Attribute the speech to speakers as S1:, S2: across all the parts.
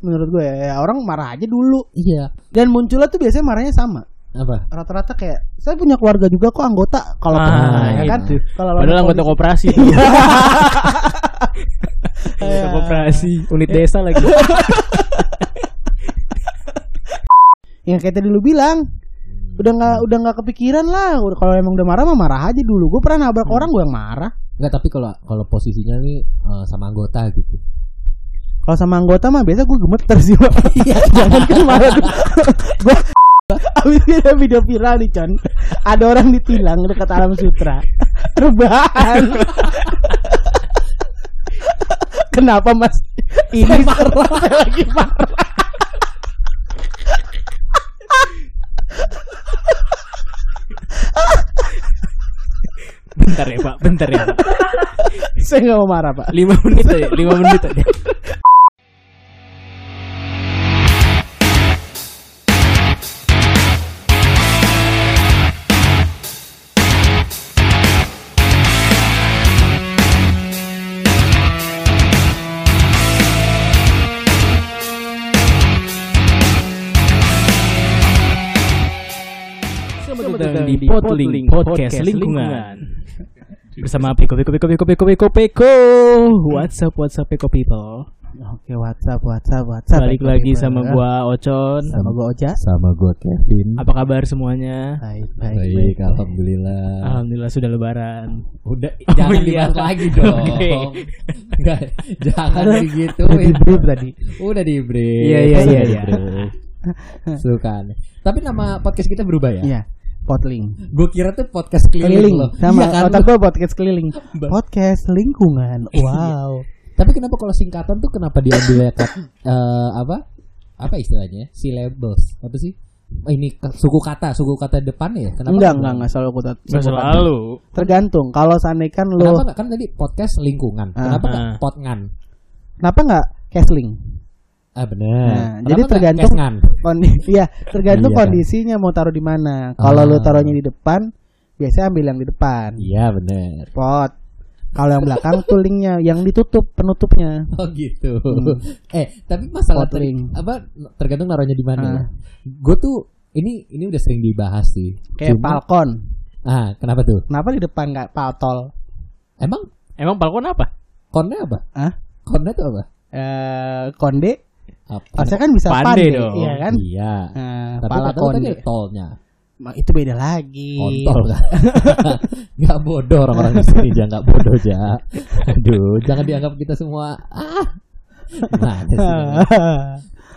S1: menurut gue ya, ya orang marah aja dulu
S2: Iya.
S1: dan munculnya tuh biasanya marahnya sama
S2: Apa?
S1: rata-rata kayak saya punya keluarga juga kok anggota kalau
S3: Ah,
S1: pernah ya kan
S2: gitu.
S1: kalau
S3: Padahal
S1: lawan
S3: anggota
S1: polisi- Iya.
S3: koperasi.
S1: Ya,
S3: Anggota koperasi, unit desa lagi.
S1: yang kayak tadi lu bilang udah nggak udah nggak kepikiran lah Udah- kalau emang udah marah mah marah aja dulu gue pernah nabrak
S3: Hmm.
S1: orang gue yang marah
S2: Enggak, tapi kalau kalau posisinya nih eh, sama anggota gitu.
S1: kalau sama anggota mah biasa gue gemeter sih Pak.
S3: Iya.
S1: jangan kan marah gue Abis ini ada video viral nih Con Ada orang ditilang dekat alam sutra Rebahan Kenapa mas Ini parah Saya lagi parah
S3: Bentar ya, Pak. Bentar ya, Pak.
S1: Saya gak mau marah pak
S3: 5 menit aja, 5 menit aja. Selamat datang di Potling Podcast Lingkungan bersama Peko Peko Peko Peko Peko Peko Peko What's up What's up Peko People
S1: Oke WhatsApp WhatsApp WhatsApp
S3: balik lagi sama gua Ocon
S1: Sama gue Oja
S2: Sama gue Kevin.
S3: apa kabar semuanya
S1: Baik
S2: Baik, alhamdulillah.
S3: Alhamdulillah sudah lebaran
S2: Udah
S3: Oh,
S2: jangan
S3: iya.
S2: dibahas lagi dong.
S3: Oke.
S2: Enggak, jangan begitu.
S1: Udah di brief tadi
S2: Udah di brief.
S3: Iya, iya,
S2: Sudah
S3: iya,
S2: di
S3: iya.
S2: brief. Suka nih. Tapi nama podcast kita berubah ya?
S1: Iya Potling
S2: Gue kira tuh podcast keliling,
S1: keliling
S2: loh.
S1: sama
S2: Iya kan,
S1: otak
S2: lu?
S1: gue podcast keliling
S2: Ba-
S1: podcast lingkungan
S2: Iya.
S1: wow
S2: Tapi kenapa kalau singkatan tuh kenapa diambil lekat eh, apa? Apa istilahnya? Syllables. Apa sih? Oh, ini ke- suku kata, suku kata depan ya? Kenapa?
S1: enggak enggak enggak selalu kutat
S3: Gak selalu
S1: tergantung kalau seandainya lo
S2: Kenapa enggak? Kan tadi podcast lingkungan. Kenapa enggak
S3: Ah.
S2: potngan?
S1: kenapa enggak casling
S2: Ah benar.
S1: Nah, jadi tergantung- kondisi ya tergantung
S2: Iya, kan.
S1: kondisinya mau taruh di mana kalau lo
S2: Ah.
S1: taruhnya di depan biasanya ambil yang di depan
S2: Iya benar.
S1: pot kalau yang belakang tulingnya yang ditutup penutupnya
S2: Oh gitu.
S1: Hmm.
S2: Eh tapi masalah ter-
S1: Potring.
S2: apa tergantung naruhnya di mana.
S1: Ah.
S2: ya. Gue tuh ini ini udah sering dibahas sih.
S1: kayak
S2: Cuma-
S1: palkon
S2: Ah kenapa tuh?
S1: kenapa di depan nggak paltol
S2: Emang
S3: emang balkon apa
S2: konnya apa?
S1: ah
S2: Konnya tuh apa?
S1: eh konde
S2: Apa?
S1: harusnya kan bisa
S3: Pande
S1: pande,
S3: dong.
S1: iya kan
S2: Iya.
S1: Nah,
S2: Tapi ya?
S1: pala
S2: kata lu tadi
S1: konde
S2: ada tolnya.
S1: Ma, itu beda lagi.
S2: Kontol kan. Enggak bodoh orang-orang di sini jangan enggak bodoh ja. Aduh, jangan dianggap kita semua ah. Gimana sih?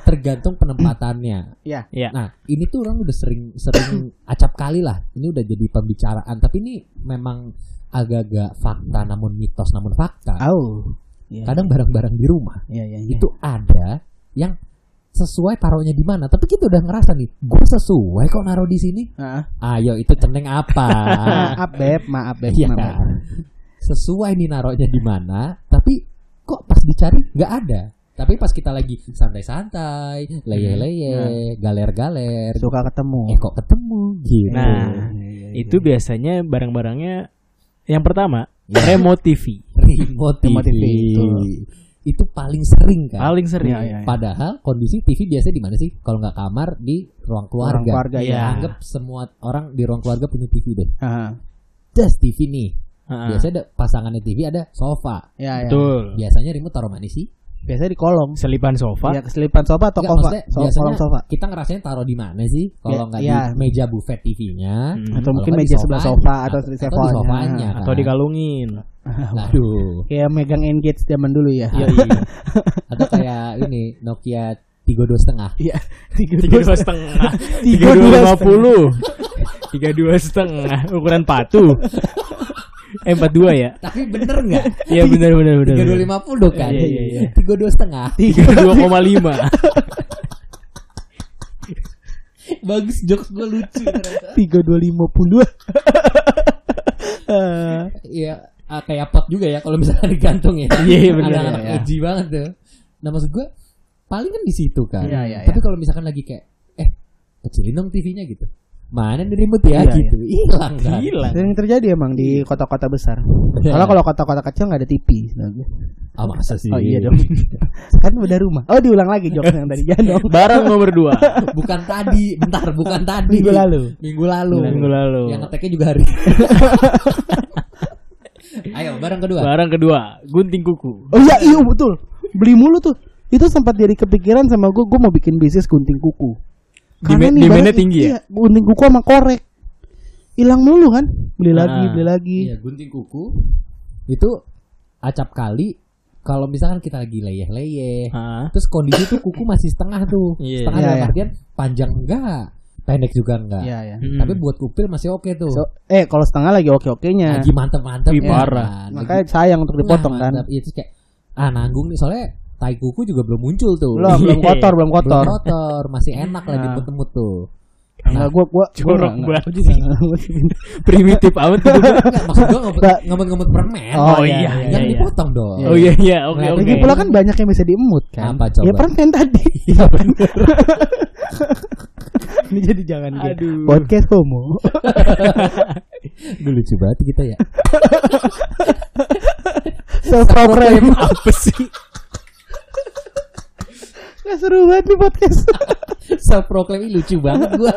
S2: Tergantung penempatannya.
S1: ya,
S3: ya
S2: Nah, ini tuh orang udah sering-sering acap kali lah. Ini udah jadi pembicaraan, tapi ini memang agak-agak fakta namun mitos namun fakta.
S1: au. Ya,
S2: Kadang barang-barang di rumah
S1: ya, ya, ya.
S2: itu ada yang sesuai taruhnya di mana. Tapi kita udah ngerasa nih, gue sesuai kok naruh di sini.
S1: Ah,
S2: Ayo, itu ceneng apa?
S1: maaf beb, maaf beb,
S2: Ah. Iya.
S1: maaf, Beb.
S2: Sesuai nih naruhnya di mana, tapi kok pas dicari nggak ada. Tapi pas kita lagi santai-santai, leye-leye, galer-galer,
S1: Suka ketemu.
S2: eh kok ketemu gitu.
S1: Ya, ya,
S3: Nah,
S1: ya.
S3: itu biasanya barang-barangnya yang pertama remote TV
S2: remote TV.
S1: Remote TV,
S2: itu.
S1: betul.
S2: paling sering kan.
S3: paling sering
S1: Ya, ya, ya.
S2: Padahal kondisi TV biasanya di mana sih? Kalau nggak kamar di ruang
S1: Orang
S2: keluarga.
S1: keluarga
S3: Iya.
S1: ya.
S2: Anggap semua orang di ruang keluarga punya TV deh.
S1: Ah,
S2: Das TV nih.
S3: Ha-ha.
S2: Biasanya ada pasangannya TV ada sofa.
S1: ya, ya.
S3: betul
S2: Biasanya remote taruh mana sih?
S1: Biasanya di kolong.
S3: selipan sofa
S1: Ya, keselipan sofa atau
S2: Nggak,
S1: sofa?
S2: Iya, maksudnya
S1: So-
S2: biasanya
S1: kolong sofa.
S2: Kita ngerasain taruh di mana sih? Kalau
S1: Ya,
S2: nggak
S1: iya.
S2: di meja buffet TV-nya,
S3: Hmm.
S1: Atau mungkin
S2: nggak di
S1: meja sebelah
S2: sofanya.
S1: sofa atau
S2: Atau
S1: di
S2: di
S1: sofanya.
S2: sofanya, kan?
S3: atau dikalungin
S2: Nah. Aduh.
S1: Kayak megang engage zaman dulu ya.
S3: Iya,
S2: Atau kayak ini Nokia 32 setengah.
S1: Iya. Tiga
S3: tiga dua setengah tiga
S1: Tiga
S3: dua
S1: dua
S3: lima puluh tiga dua setengah ukuran patu eh, empat dua ya
S2: Tapi bener nggak?
S3: iya benar benar benar
S2: 3250 kan?
S3: Iya, iya, iya.
S2: 32 setengah.
S3: tiga dua koma lima
S2: Bagus jokes gue lucu.
S1: tiga dua lima puluh.
S2: Iya. ah, kayak pot juga ya kalau misalnya digantung ya.
S3: Iya, bener.
S2: Anak-anak
S1: Iya, iya.
S2: edgy banget tuh. Nah maksud gue paling kan di situ kan.
S1: Iya, iya,
S2: Tapi
S1: iya.
S2: kalau misalkan lagi kayak eh kecilin dong TV-nya gitu. mana di remote ya
S1: Iya,
S2: gitu hilang kan
S3: Hilang.
S1: Sering terjadi emang di kota-kota besar.
S2: Iya.
S1: Kalau kalau kota-kota kecil nggak ada TV sebenarnya.
S2: ah masa sih
S1: Oh iya dong. kan udah rumah. Oh diulang lagi jokes yang tadi jangan dong.
S3: Barang nomor dua
S2: bukan tadi bentar bukan tadi
S1: Minggu lalu.
S2: minggu lalu
S3: Minggu lalu.
S2: yang ngeteknya juga hari ayo barang kedua
S3: Barang kedua, gunting kuku.
S1: Oh iya iya betul. Beli mulu tuh. Itu sempat jadi kepikiran sama gue. Gue mau bikin bisnis gunting kuku.
S3: Demand-
S1: nih,
S3: demandnya
S1: barang-
S3: tinggi ya?
S1: iya, Gunting kuku sama korek. Hilang mulu kan. Beli
S3: Ah,
S1: lagi beli lagi.
S2: Iya gunting kuku itu acap kali kalau misalkan kita lagi leyeh-leyeh
S3: Hah?
S2: terus kondisi tuh kuku masih setengah tuh
S3: Iya.
S2: setengah
S1: Iya,
S2: dalam
S1: iya.
S2: artian panjang enggak pendek juga enggak
S1: Iya ya.
S3: Mm.
S2: tapi buat kupil masih oke tuh
S1: So, eh kalau setengah lagi oke-okenya.
S2: lagi mantep-mantep
S3: Wih,
S2: ya, kan.
S3: parah.
S1: Makanya sayang untuk dipotong kan.
S2: Mantap. Iya, terus kayak ah nanggung nih soalnya tai kuku juga belum muncul tuh
S1: Belum, belum kotor, Iya. belum
S2: Belum
S1: kotor.
S2: kotor masih enak lah
S1: Nah.
S2: dimut-mut tuh
S1: Enggak gua gua
S3: Jorok
S1: gua
S3: banget sih. Primitif amat gitu.
S2: Enggak, maksud gua ngemut- ngemut-ngemut permen
S1: Oh,
S3: iya,
S2: jangan
S3: iya, iya.
S2: dipotong dong
S3: Oh iya iya, oke
S2: Nah,
S3: oke.
S1: Lagi pula kan banyak yang bisa diemut kan.
S2: Apa coba?
S1: Ya permen tadi. Iya benar. Ini jadi jangan gitu.
S3: Aduh.
S1: Podcast homo.
S2: Aduh, lucu banget kita ya
S1: Self proclaim.
S3: Apa sih?
S1: Nggak seru banget nih podcast.
S2: self proclaim lucu banget gua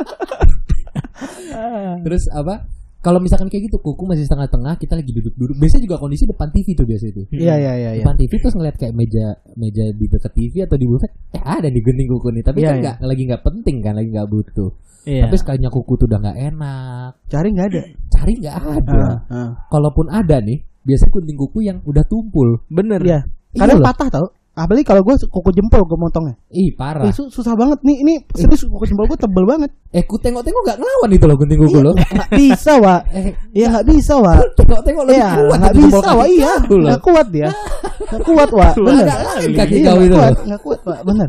S2: terus apa kalau misalkan kayak gitu kuku masih setengah-tengah kita lagi duduk-duduk biasanya juga kondisi depan TV tuh biasa itu
S1: Iya iya iya iya.
S2: depan TV terus ngeliat kayak meja meja di dekat TV atau di bulu ya ada nih gunting kuku nih tapi
S1: Iya,
S2: kan
S1: iya.
S2: nggak lagi nggak penting kan lagi nggak butuh
S3: Iya.
S2: tapi sekalinya kuku tuh udah nggak enak
S1: Cari nggak ada.
S2: cari nggak ada
S1: Ah, ah.
S2: kalaupun ada nih biasanya gunting kuku yang udah tumpul
S3: Bener.
S1: Iya.
S2: Iya
S1: Kadang
S2: loh.
S1: patah tau. Apalagi kalau gua kuku jempol gua motongnya.
S2: ih parah
S1: Ih, su- susah banget nih. Ini serius kuku jempol gua tebel banget. Iya,
S2: eh ku tengok-tengok nggak ngelawan itu loh gunting kuku lo
S1: Nggak bisa, Wak.
S2: eh
S1: Ya nggak bisa, Wak.
S2: tengok-tengok lo
S1: Iya,
S2: kuat
S1: nggak
S2: tuh jempol
S1: bisa,
S2: kaki
S1: Wak. Iya,
S2: kau lo.
S1: nggak kuat dia. Nggak kuat, Wak.
S3: Kuat
S1: Bener.
S2: Agak lain kaki
S1: Iya,
S2: kau
S1: nggak
S2: itu
S1: kuat,
S2: loh.
S1: nggak kuat, Wak. Bener.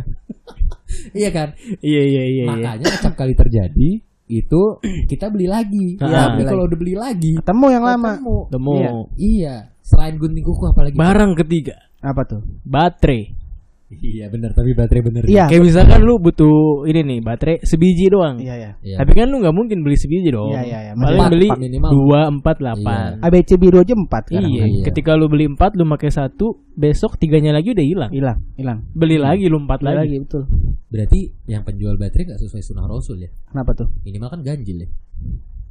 S2: Iya kan?
S3: Iya iya iya. iya.
S2: Makanya setiap kali terjadi itu kita beli lagi. Tapi
S3: Iya,
S1: beli
S2: kalau udah beli lagi
S1: Ketemu yang lama.
S2: ketemu.
S3: Temu.
S1: Iya.
S2: Iya, selain gunting kuku apalagi?
S3: Barang ketiga,
S1: Apa tuh?
S3: baterai.
S2: Iya benar, tapi baterai bener.
S1: Iya.
S3: Kayak misalkan lu butuh ini nih, baterai sebiji doang.
S1: Iya, iya.
S2: Iya.
S3: Tapi kan lu nggak mungkin beli sebiji dong.
S1: Iya, iya, iya.
S3: Paling
S2: Empat,
S3: beli
S2: empat minimal.
S3: dua empat delapan.
S1: ABC biru aja empat
S3: Iya.
S1: sekarang.
S2: Iya.
S3: Ketika lu beli empat, lu pakai satu, besok tiganya lagi udah hilang.
S1: Hilang, hilang.
S3: Beli lagi lu empat
S1: Iya. Beli
S3: lagi.
S1: lagi betul.
S2: Berarti yang penjual baterai nggak sesuai sunnah rasul ya?
S1: Kenapa tuh?
S2: Minimal kan ganjil ya?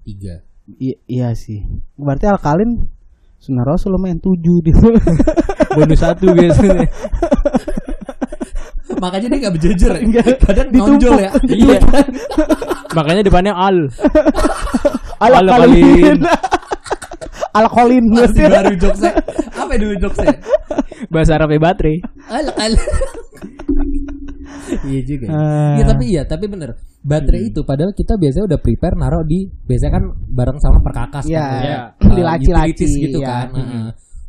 S2: Tiga.
S1: I- iya sih. Berarti alkalin Sunnah Rasul lumayan tujuh di
S3: Bonus satu biasanya.
S2: Makanya dia nggak berjejer ya? Kadang nonjol ya?
S3: iya. Makanya depannya al.
S1: Alkalin. Alkolin.
S2: Pasti baru jokesnya. Apa ya dulu jokesnya?
S3: Bahasa Arabnya baterai.
S2: Al al. iya juga. ya.
S1: Ah. Hmm.
S2: Iya tapi iya tapi bener. Baterai itu padahal kita biasanya udah prepare naruh di biasanya kan bareng sama perkakas
S1: Iya.
S2: kan.
S1: Iya.
S2: Eh,
S1: Di laci-laci,
S2: utilities gitu
S1: iya.
S2: kan. Heeh.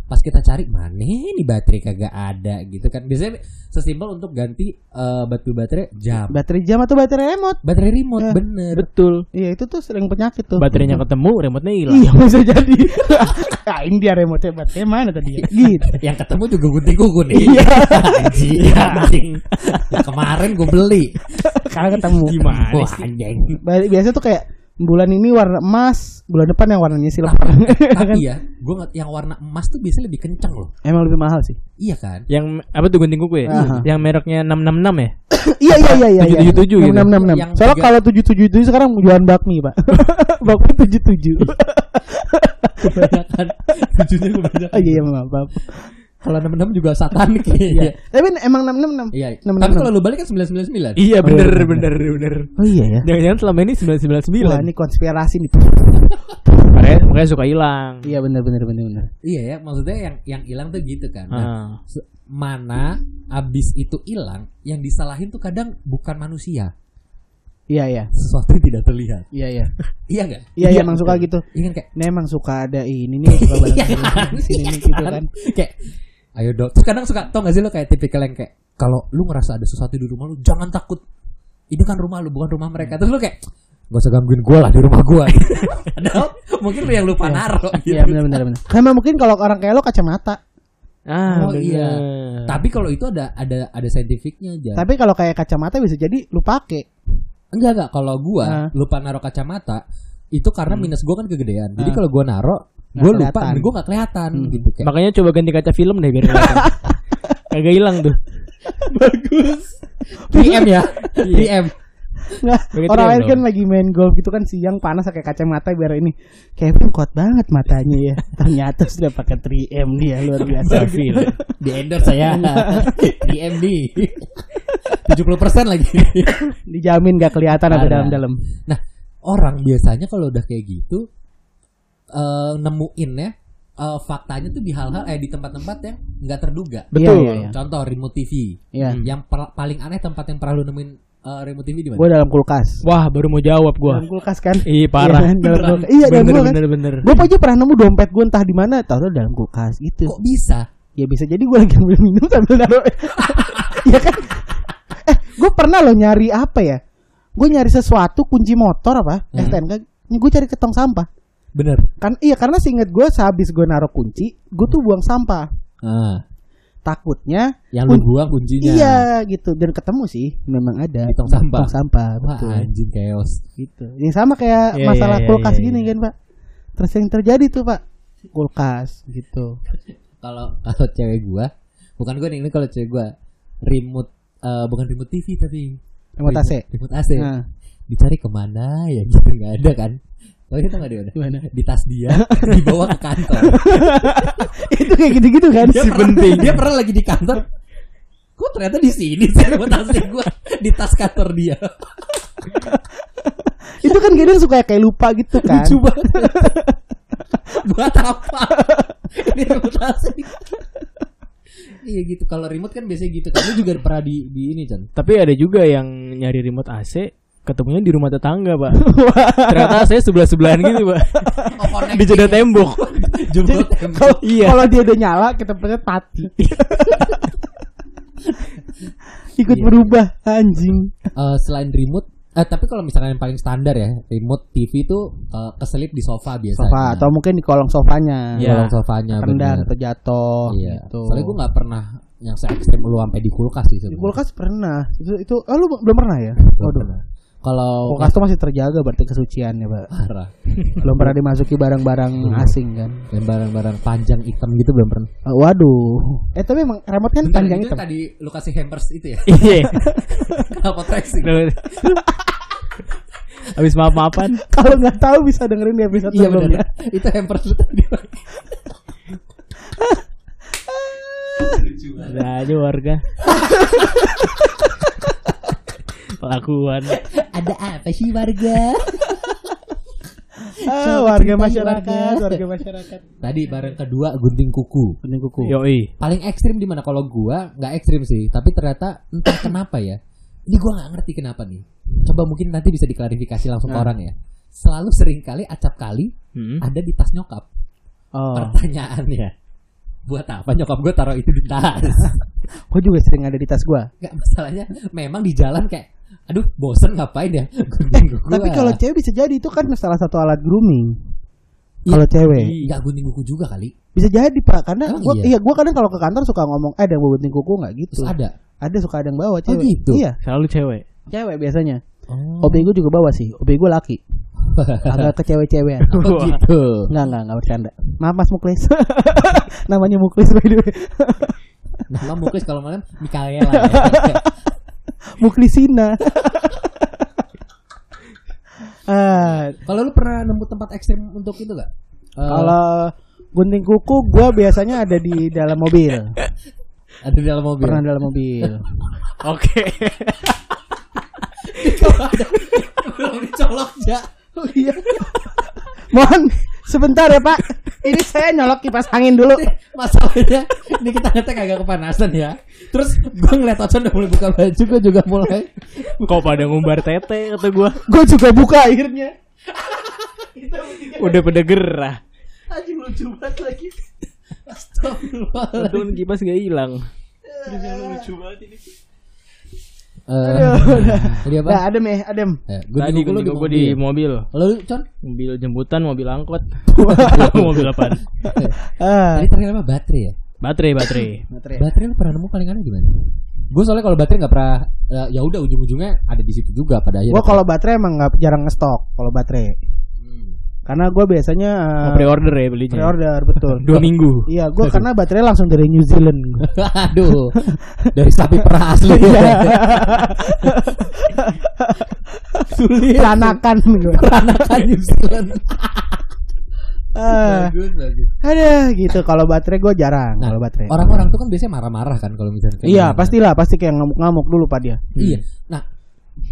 S2: Pas kita cari mana nih baterai kagak ada gitu kan. Biasanya sesimpel untuk ganti eh, batu baterai jam.
S1: Baterai jam atau baterai remote?
S2: Baterai remote
S1: Iya.
S2: bener.
S3: Betul.
S1: Iya, itu tuh sering penyakit tuh.
S3: Baterainya ketemu, remote-nya hilang.
S1: Iya, bisa jadi. Kain dia remote baterai mana tadi? ya? Gitu.
S2: Yang ketemu juga gunting kuku nih.
S1: Iya.
S2: Anjing. anjing. Nah, Kemarin gue beli.
S1: Karena ketemu.
S3: Gimana
S2: Wah,
S3: sih?
S2: anjing.
S1: Ba- Biasa tuh kayak bulan ini warna emas, bulan depan yang warnanya silver.
S3: Iya kan?
S1: kan?
S2: Tapi ya, gue yang warna emas tuh biasanya lebih kenceng loh.
S1: Iya. Emang lebih mahal sih.
S2: Iya kan?
S3: Yang apa tuh gunting kuku ya?
S1: Aha.
S3: Yang mereknya 666 ya?
S1: iya iya iya iya.
S3: 777 gitu.
S1: 666.
S2: Yang
S1: Soalnya
S2: tiga-
S1: kalau 777 sekarang jualan bakmi, Pak. bakmi 77.
S3: Iya kan?
S2: kebanyakan tujuhnya kebanyakan
S1: oh iya iya maaf, maaf.
S2: kalau enam enam juga satanik iya
S1: Tapi emang 666.
S2: iya
S1: Enam,
S2: tapi
S1: enam.
S2: kalau lu balik kan sembilan sembilan sembilan
S3: Iya, bener bener bener.
S1: Oh iya ya.
S3: Jangan-jangan selama ini 999.
S1: Wah, ini konspirasi nih.
S3: Makanya, makanya suka hilang.
S1: iya benar benar benar benar.
S2: iya ya maksudnya yang yang hilang tuh gitu kan Nah,
S3: Ah.
S2: se- mana abis itu hilang yang disalahin tuh kadang bukan manusia
S1: Iya iya.
S2: sesuatu yang tidak terlihat
S1: Iya iya.
S2: iya nggak
S1: Iya iya emang suka gitu.
S2: iya kan kayak
S1: Ini emang suka ada ini nih suka barang
S2: iya kan?
S1: di sini
S2: Iya
S1: nih, gitu kan.
S2: kayak ayo dok Terus kadang suka tau gak sih lo kayak tipikal yang kayak kalau lu ngerasa ada sesuatu di rumah lu jangan takut ini kan rumah lu bukan rumah mereka terus lu kayak gak usah gangguin gue lah di rumah gue padahal mungkin lu yang lupa naruh gitu.
S1: Iya benar benar benar. Emang mungkin kalau orang kayak lo kacamata.
S3: Ah,
S2: Oh, iya.
S3: bener. Iya.
S2: tapi kalau itu ada ada ada saintifiknya aja
S1: Tapi kalau kayak kacamata bisa jadi lu pakai.
S2: Enggak enggak kalau gua
S1: Hah? Hmm.
S2: lupa naruh kacamata itu karena minus gua kan kegedean. Jadi
S1: Hah.
S2: kalau gua naruh
S1: Nggak
S2: gua lupa
S1: kelihatan.
S2: dan gua nggak kelihatan
S1: Hmm.
S2: gitu kayak.
S3: Makanya coba ganti kaca film deh biar kelihatan. kagak hilang tuh.
S2: DM
S1: Iya.
S2: ya. DM.
S1: Nggak,
S3: Begitu
S1: orang
S3: ya,
S1: lain
S3: Bro.
S1: kan lagi main golf gitu kan siang panas pakai kacamata biar ini Kevin kuat banget matanya ya. Ternyata sudah pakai 3M dia luar biasa.
S3: Selfie. lah.
S2: Di endorse saya. DM di 70% lagi.
S1: Dijamin gak kelihatan apa
S2: Parah.
S1: dalam-dalam.
S2: Nah, orang biasanya kalau udah kayak gitu eh nemuin ya eh, faktanya tuh di hal-hal eh di tempat-tempat yang nggak terduga.
S1: Iya,
S3: Betul.
S1: iya, iya.
S2: Contoh remote TV.
S1: Iya.
S3: Hmm.
S2: Yang per- paling aneh tempat yang pernah lu nemuin eh, remote TV di mana?
S1: Gue dalam kulkas.
S3: Wah, baru mau jawab gua.
S1: Dalam kulkas kan?
S3: Ih, parah.
S1: Iya, dalam
S3: Beneran.
S1: kulkas. Iya, dalam
S3: bener,
S1: kulkas.
S3: bener, bener.
S1: Gue aja pernah nemu dompet gue entah di mana, tahu dalam kulkas itu.
S2: Kok bisa?
S1: Ya bisa jadi gue lagi ambil minum sambil naruh. ya kan? Eh, gue pernah loh nyari apa ya? Gue nyari sesuatu kunci motor apa?
S2: Hmm.
S1: STNK. Gue cari ke tong sampah.
S2: Bener.
S1: Kan iya karena seinget gue sehabis gue naruh kunci, gue tuh buang sampah.
S2: Ah,
S1: Takutnya
S2: yang lu
S1: kun-
S2: buang kuncinya.
S1: Iya gitu dan ketemu sih memang ada
S2: Di tong sampah.
S1: Tong sampah
S2: Wah,
S1: betul.
S2: anjing chaos.
S1: Gitu. Yang sama kayak
S3: Iya,
S1: masalah
S3: iya, iya,
S1: kulkas
S3: iya,
S1: gini
S3: iya.
S1: kan, Pak. Terus yang terjadi tuh, Pak. Kulkas gitu.
S2: Kalau kalau cewek gua, bukan gua nih, ini kalau cewek gua remote eh, bukan remote TV tapi
S1: Remote AC.
S2: Remote AC.
S1: Nah,
S2: Dicari kemana ya gitu nggak ada kan? Tapi kita nggak ada. mana?
S1: gimana?
S2: Di tas dia, dibawa ke kantor.
S1: itu kayak gitu-gitu kan.
S2: Dia pernah, dia pernah lagi di kantor. Kok ternyata di sini sih remote AC gua di tas kantor dia.
S1: itu kan kadang suka kayak lupa gitu kan.
S2: Lucu banget. Buat apa? Ini remote AC. Iya gitu. Kalau remote kan biasanya gitu. Kamu juga pernah di, di ini Chan.
S3: Tapi ada juga yang nyari remote AC ketemunya di rumah tetangga, Pak. Ternyata saya sebelah-sebelahan gitu, Pak. di jeda
S2: gitu.
S3: tembok.
S2: Jumbo
S1: Kalau
S3: Iya.
S1: kalau dia udah nyala, ketempatnya mati. Ikut
S2: Iya.
S1: berubah anjing.
S2: selain remote eh, tapi kalau misalkan yang paling standar ya, remote TV itu eh, keselip di sofa biasanya.
S1: Sofa atau mungkin di kolong sofanya.
S2: Di
S3: Iya.
S2: kolong sofanya
S1: Rendang
S2: Iya. benar.
S1: atau jatuh
S2: Iya.
S1: gitu.
S2: Soalnya gue nggak pernah yang se ekstrim lu sampai di kulkas sih
S1: Di
S2: sebenarnya.
S1: kulkas pernah. Itu, itu oh, lu belum pernah ya?
S2: Belum
S1: Waduh.
S2: pernah. Kalau
S1: Kulkas tuh masih terjaga berarti kesuciannya, Pak.
S2: parah.
S1: Belum pernah dimasuki barang-barang
S2: Iya.
S1: asing kan.
S2: Yang barang-barang panjang hitam gitu belum pernah.
S1: Eh, waduh. Eh tapi emang remote kan
S2: Bentar,
S1: panjang
S2: itu
S1: hitam.
S2: tadi lu kasih hampers itu ya.
S3: Iya.
S2: Kenapa tracing?
S3: Habis maaf-maafan.
S1: Kalau nggak tahu bisa dengerin di episode
S2: Iya
S1: sebelumnya.
S2: benar. Itu hampers lu tadi.
S3: Ada aja warga. Pelakuan.
S2: Ada apa sih warga?
S1: Ah,
S2: Coba
S1: warga
S2: ceritain,
S1: masyarakat,
S2: warga.
S1: warga masyarakat.
S2: Tadi barang kedua gunting kuku.
S1: Pening kuku.
S3: Yoi.
S2: paling ekstrim di mana kalau gua nggak ekstrim sih tapi ternyata entah kenapa ya ini gua nggak ngerti kenapa nih coba mungkin nanti bisa diklarifikasi langsung ke
S1: Nah.
S2: orang ya selalu sering kali acap kali
S3: Hmm.
S2: ada di tas nyokap
S1: Oh.
S2: pertanyaannya buat apa nyokap gua taruh itu di tas
S1: Gue juga sering ada di tas gua.
S2: nggak masalahnya memang di jalan kayak aduh bosen ngapain ya gunting kuku
S1: Tapi
S2: ah.
S1: kalau cewek bisa jadi itu kan salah satu alat grooming.
S2: Iya.
S1: Kalau cewek
S2: nggak gunting kuku juga kali
S1: bisa jadi pak, karena
S2: Emang
S1: gua, iya
S2: iya?
S1: gua kadang kalau ke kantor suka ngomong, eh ada yang bawa gunting kuku nggak gitu?
S2: terus
S1: Ada.
S2: ada
S1: suka ada yang bawa cewek.
S2: gitu?
S1: Iya,
S3: Selalu cewek.
S1: cewek biasanya.
S2: oh,
S1: Obi gua juga bawa sih, obi gua laki. Agak ke cewek-cewean.
S3: Wah.
S2: gitu
S1: Enggak, enggak, enggak bercanda. Maaf Mas Muklis. Namanya Muklis by the way.
S2: nah lo muklis kalau malam Mikaela Ah, ya.
S1: Muklisina. Ah,
S2: Kalau lu pernah nemu tempat ekstrim untuk itu gak? Eh,
S1: kalau gunting kuku gua biasanya ada di dalam mobil.
S2: ada di dalam mobil.
S1: Pernah dalam mobil.
S3: Oke.
S2: Belum dicolok ya.
S1: Oh iya. Mohon sebentar ya Pak. Ini saya nyolok kipas angin dulu.
S2: Masalahnya ini kita ngetek agak kepanasan ya. Terus gue ngeliat Ocon udah mulai buka baju, gue juga mulai.
S3: Kok pada ngumbar tete kata gua.
S1: Gue juga buka akhirnya.
S3: Udah pada gerah.
S2: Anjing lucu banget lagi. Astagfirullah.
S3: Untung kipas gak hilang.
S2: Jadi apa?
S1: Nah, adem ya, adem.
S2: Eh, gua
S3: Tadi
S2: juga-
S3: gue
S2: lu di
S3: gue di
S2: mobil.
S3: mobil.
S2: Lu Con?
S3: Mobil jemputan, mobil angkot. mobil apaan?
S2: Tadi
S1: Ah,
S2: ternyata apa? Baterai ya?
S3: Baterai, baterai.
S1: baterai.
S2: Baterai lu pernah nemu paling aneh gimana? Gue soalnya kalau baterai nggak pernah eh, ya udah ujung-ujungnya ada di situ juga pada akhirnya.
S1: Gua kalau baterai emang nggak jarang ngestok kalau baterai.
S2: Hmm.
S1: Karena gue biasanya eh,
S3: Mau pre-order ya belinya.
S1: pre-order betul.
S3: Dua minggu.
S1: Iya, gue karena baterai langsung dari New Zealand.
S2: Aduh, dari sapi perah asli.
S1: Iya.
S2: Sulit.
S1: Peranakan gue.
S2: Peranakan New Zealand.
S1: Eh,
S2: Bagus, bagus.
S1: ada gitu kalau baterai gue jarang
S2: Nah,
S1: kalau baterai.
S2: Orang-orang tuh kan biasanya marah-marah kan kalau misalnya. kayak
S1: Iya,
S2: gini.
S1: pastilah pasti kayak ngamuk-ngamuk dulu pak dia.
S2: Iya. Nah,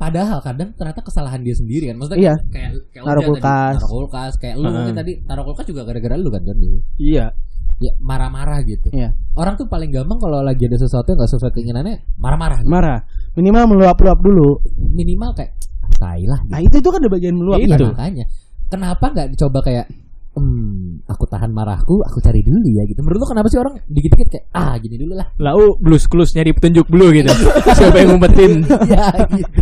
S2: padahal kadang ternyata kesalahan dia sendiri kan. Maksudnya
S1: Iya.
S2: kayak, kayak
S1: Taruh
S2: Ojan tadi,
S1: kulkas.
S2: taruh kulkas kayak lu mungkin
S3: Heeh.
S2: tadi taruh kulkas juga gara-gara lu kan Jon dulu.
S3: Iya.
S2: Ya marah-marah gitu.
S1: Iya.
S2: Orang tuh paling gampang kalau lagi ada sesuatu yang gak sesuai keinginannya marah-marah. gitu.
S1: Marah. Minimal meluap-luap dulu.
S2: Minimal kayak "Ah, tai lah.
S1: Nah itu itu kan ada bagian meluap.
S2: Iya,
S1: kan?
S2: makanya. Kenapa nggak dicoba kayak Hmm, aku tahan marahku, aku cari dulu ya gitu. Menurut lu kenapa sih orang dikit-dikit kayak ah gini dulu lah.
S3: Lau blues clues nyari petunjuk blue gitu. Siapa yang ngumpetin?
S2: Iya gitu.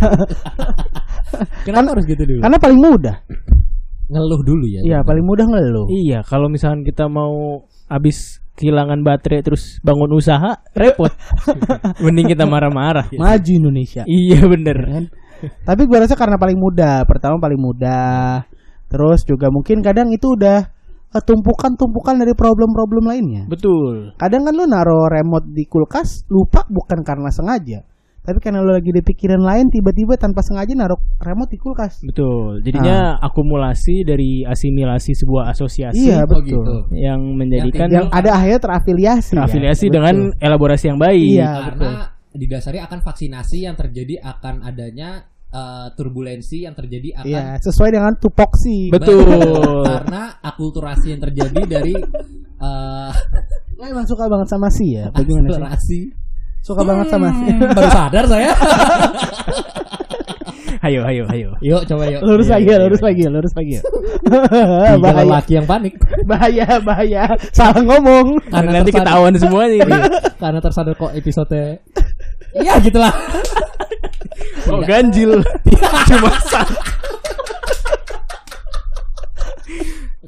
S1: Kan-
S2: kenapa harus gitu dulu?
S1: Karena paling mudah.
S2: Ngeluh dulu ya.
S1: Iya paling mudah ngeluh.
S3: Iya, kalau misalkan kita mau habis kehilangan baterai terus bangun usaha repot. Mending kita marah-marah.
S1: Maju Indonesia.
S3: Iya bener.
S1: kan? Tapi gue rasa karena paling mudah. Pertama paling mudah. Terus juga mungkin kadang itu udah eh, tumpukan-tumpukan dari problem-problem lainnya.
S3: Betul.
S1: Kadang kan lu naro remote di kulkas lupa bukan karena sengaja. Tapi karena lu lagi di pikiran lain tiba-tiba tanpa sengaja naro remote di kulkas.
S3: Betul. Jadinya akumulasi dari asimilasi sebuah asosiasi
S1: Iya
S2: Oh,
S1: betul.
S2: gitu.
S3: yang menjadikan
S1: Yang ada akhirnya terafiliasi. ya.
S3: afiliasi
S1: Betul.
S3: dengan elaborasi yang baik.
S1: Iya.
S2: karena didasari akan vaksinasi yang terjadi akan adanya eh, turbulensi yang terjadi akan
S1: Iya, sesuai dengan tupoksi.
S3: Betul.
S2: karena akulturasi yang terjadi dari eh,
S1: Lo emang suka banget sama si ya? Bagaimana sih?
S2: akulturasi Hmm,
S1: Suka banget sama
S3: Iya,
S1: si.
S2: baru sadar saya
S3: Ayo, ayo, ayo.
S2: yuk coba yuk
S1: lurus
S2: Iya,
S1: lagi,
S2: iya,
S1: lurus
S2: iya.
S1: lagi, lurus lagi.
S2: tiga
S1: bahaya,
S2: lelaki yang panik
S1: bahaya, bahaya. Salah ngomong.
S2: Karena
S3: nanti
S2: tersadar-
S3: ketahuan semua nih.
S2: Iya, karena tersadar kok episode ya gitulah
S3: Kok Oh, ganjil? Cuma satu.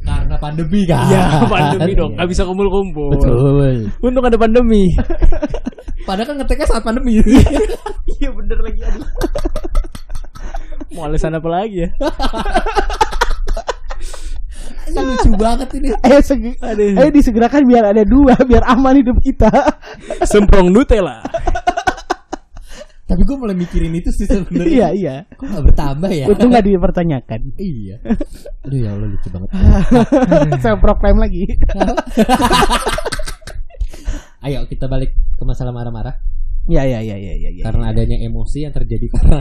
S2: karena pandemi kan
S3: Ya, pandemi dong.
S2: Iya.
S3: Gak bisa kumpul-kumpul.
S2: betul
S3: Untung ada pandemi.
S2: padahal kan ngeteknya saat pandemi
S3: Iya bener lagi aduh. Mau alasan apa lagi ya?
S2: Ini Kan lucu banget ini
S1: Ayo, segi-
S3: Aduh.
S1: ayo disegerakan biar ada dua, biar aman hidup kita.
S3: Semprong Nutella.
S2: tapi gue mulai mikirin itu sih sebenarnya
S1: iya, iya.
S2: kok gak bertambah ya
S1: Untung nggak dipertanyakan.
S2: iya aduh ya Allah lucu banget
S1: Saya proklaim lagi.
S2: ayo kita balik ke masalah marah-marah
S1: Ya, ya, ya, ya, ya, ya.
S2: karena adanya emosi yang terjadi karena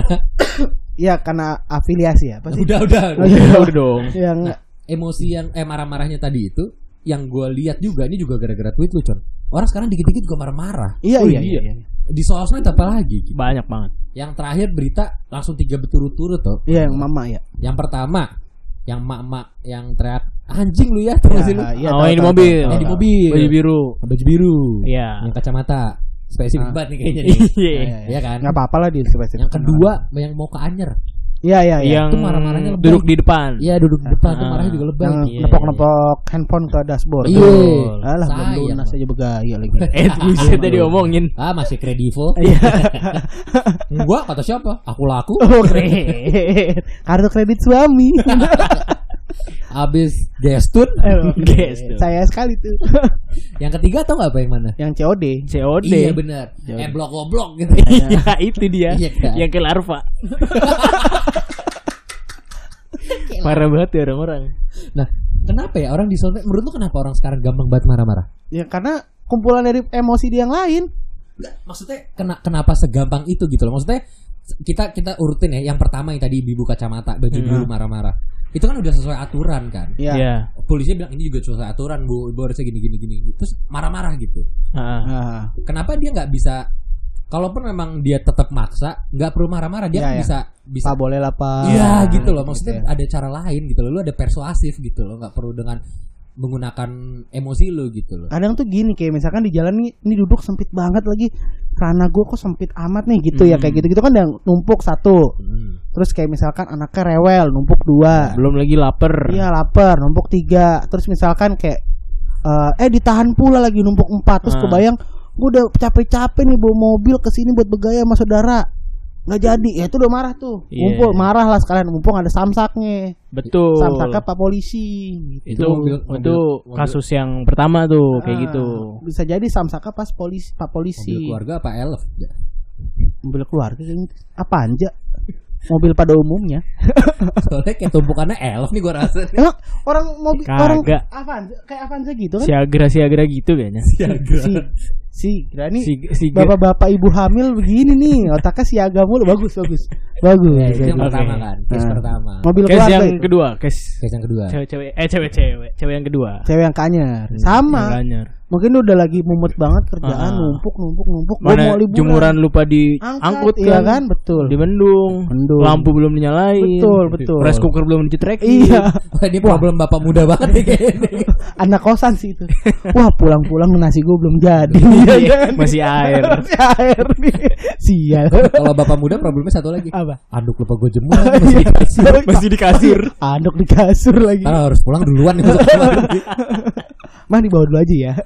S1: Ya, karena afiliasi ya. Pasti
S2: udah udah, udah.
S1: Iya.
S2: Nah,
S3: Ya udah dong.
S1: yang
S2: emosi yang eh marah-marahnya tadi itu yang gue lihat juga ini juga gara-gara tweet lu con orang sekarang dikit-dikit juga marah-marah
S1: iya,
S3: Oh,
S1: iya,
S3: iya.
S1: iya, iya.
S2: di sosmed apalagi gitu.
S3: Banyak banget.
S2: yang terakhir berita langsung tiga berturut-turut tuh
S1: Iya, yang mama ya.
S2: yang pertama yang mak-mak yang teriak anjing lu ya tau gak sih lu
S1: Iya,
S3: Oh,
S1: tahu,
S3: yang di
S1: tahu,
S3: mobil. Iya.
S1: tahu,
S2: yang di
S1: tahu.
S2: mobil
S3: Baju biru.
S2: baju biru
S3: Iya.
S2: yang kacamata spesifik
S1: Ah.
S2: banget nih kayaknya nih
S1: Iya,
S3: Iya.
S2: Iya kan?
S1: Nggak apa-apa lah di
S2: yang kedua yang mau ke Anyer
S1: Iya, iya, iya.
S3: Yang
S2: Itu marah-marahnya lebay.
S3: duduk di depan.
S2: iya duduk di depan tuh
S3: Ah.
S2: marahnya juga lebay
S1: Yang
S3: iya,
S1: nepok-nepok handphone ke dashboard.
S2: Iya.
S1: Alah, belum
S2: Sayang.
S1: lunas aja bergaya lagi. Iya.
S3: Eh, buset tadi omongin.
S2: ah masih kredivo gua kata siapa aku laku
S1: Oh, kredit. Kartu kredit suami.
S2: abis gestun
S3: Guys. tuh.
S1: Saya sekali tuh.
S2: yang ketiga tau nggak apa yang mana
S1: yang COD.
S3: COD.
S2: iya benar
S1: Jauh.
S2: eh blok goblok gitu
S1: Nah.
S3: Iya, itu dia.
S2: Iya, kan?
S3: Yang ke larva. Parah banget ya orang-orang.
S2: nah kenapa ya orang di sosmed menurut lu kenapa orang sekarang gampang banget marah-marah
S1: Ya karena kumpulan dari emosi dia yang lain.
S2: Nggak, maksudnya kena- kenapa segampang itu gitu loh maksudnya kita kita urutin ya yang pertama yang tadi ibu kacamata baju biru marah-marah itu kan udah sesuai aturan kan
S1: Ya.
S3: Iya.
S2: polisi bilang ini juga sesuai aturan bu ibu harusnya gini gini gini terus marah-marah gitu
S3: Heeh.
S1: Ah,
S2: kenapa dia nggak bisa kalaupun memang dia tetap maksa nggak perlu marah-marah dia
S1: Iya,
S2: kan
S1: iya.
S2: bisa bisa
S1: Pak boleh lah Pak.
S2: Iya gitu loh maksudnya
S1: Gitu ya.
S2: ada cara lain gitu loh lu ada persuasif gitu loh nggak perlu dengan menggunakan emosi lu gitu loh
S1: Kadang tuh gini kayak misalkan di jalan nih ini duduk sempit banget lagi. Karena gue kok sempit amat nih gitu ya
S3: Hmm.
S1: kayak gitu-gitu kan yang numpuk satu.
S2: Hmm.
S1: Terus kayak misalkan anaknya rewel numpuk dua.
S3: Belum lagi lapar.
S1: Iya lapar numpuk tiga. Terus misalkan kayak eh, eh ditahan pula lagi numpuk empat. Terus
S3: Ah.
S1: kebayang gue udah capek-capek nih bawa mobil ke sini buat bergaya sama saudara nggak jadi ya itu udah marah tuh
S3: Iya.
S1: ngumpul marah lah sekalian mumpung ada samsaknya
S3: Betul.
S1: samsaknya pak polisi gitu.
S3: itu
S2: Mobil- mobil-
S3: itu
S2: mobil-
S3: kasus yang pertama tuh kayak
S1: Ah,
S3: gitu.
S1: bisa jadi samsaka pas polisi pak polisi
S2: Mobil keluarga apa elf? Ya.
S1: mobil keluarga kayaknya. apa aja mobil pada umumnya
S2: Soalnya kayak tumpukannya elf nih gua rasa.
S1: emang orang mobil
S3: Kagak.
S1: orang Avanza kayak Avanza gitu kan
S3: Siagra siagra gitu kayaknya.
S2: Siagra.
S1: si si kira nih
S3: Si si
S1: bapak-bapak ibu hamil begini nih otaknya siaga mulu bagus bagus bagus
S2: Ya, itu yang
S1: bagus.
S2: pertama kan, case
S1: Ah.
S2: pertama.
S1: mobil
S3: case
S1: keluarga
S3: yang
S1: itu. Iya.
S3: kedua, case
S2: Case yang kedua.
S3: cewek-cewek eh cewek-cewek, cewek yang kedua.
S1: cewek yang kanyar sama
S3: Yang Lanyar.
S1: mungkin lu udah lagi mumet banget kerjaan
S3: Ah.
S1: numpuk numpuk numpuk gua
S3: Mana
S1: mau liburan
S3: jumuran lupa diangkut
S1: angkut iya kan betul
S3: Di mendung,
S1: Mendung.
S3: lampu belum dinyalain.
S1: Betul, betul.
S3: Rice cooker belum dicetrekin.
S1: iya
S2: Wah, ini problem bapak muda banget nih kayaknya.
S1: anak kosan sih itu wah pulang-pulang nasi gue belum jadi kan?
S3: Iya, masih air.
S1: masih air nih sial
S2: Kalau bapak muda problemnya satu lagi.
S1: apa
S2: Anduk lupa gue jemur masih dikasih.
S3: Masih di kasur.
S1: aduk di kasur lagi
S3: Ah.
S2: Karena harus pulang duluan nih masuk kamar.
S1: mah dibawa dulu aja ya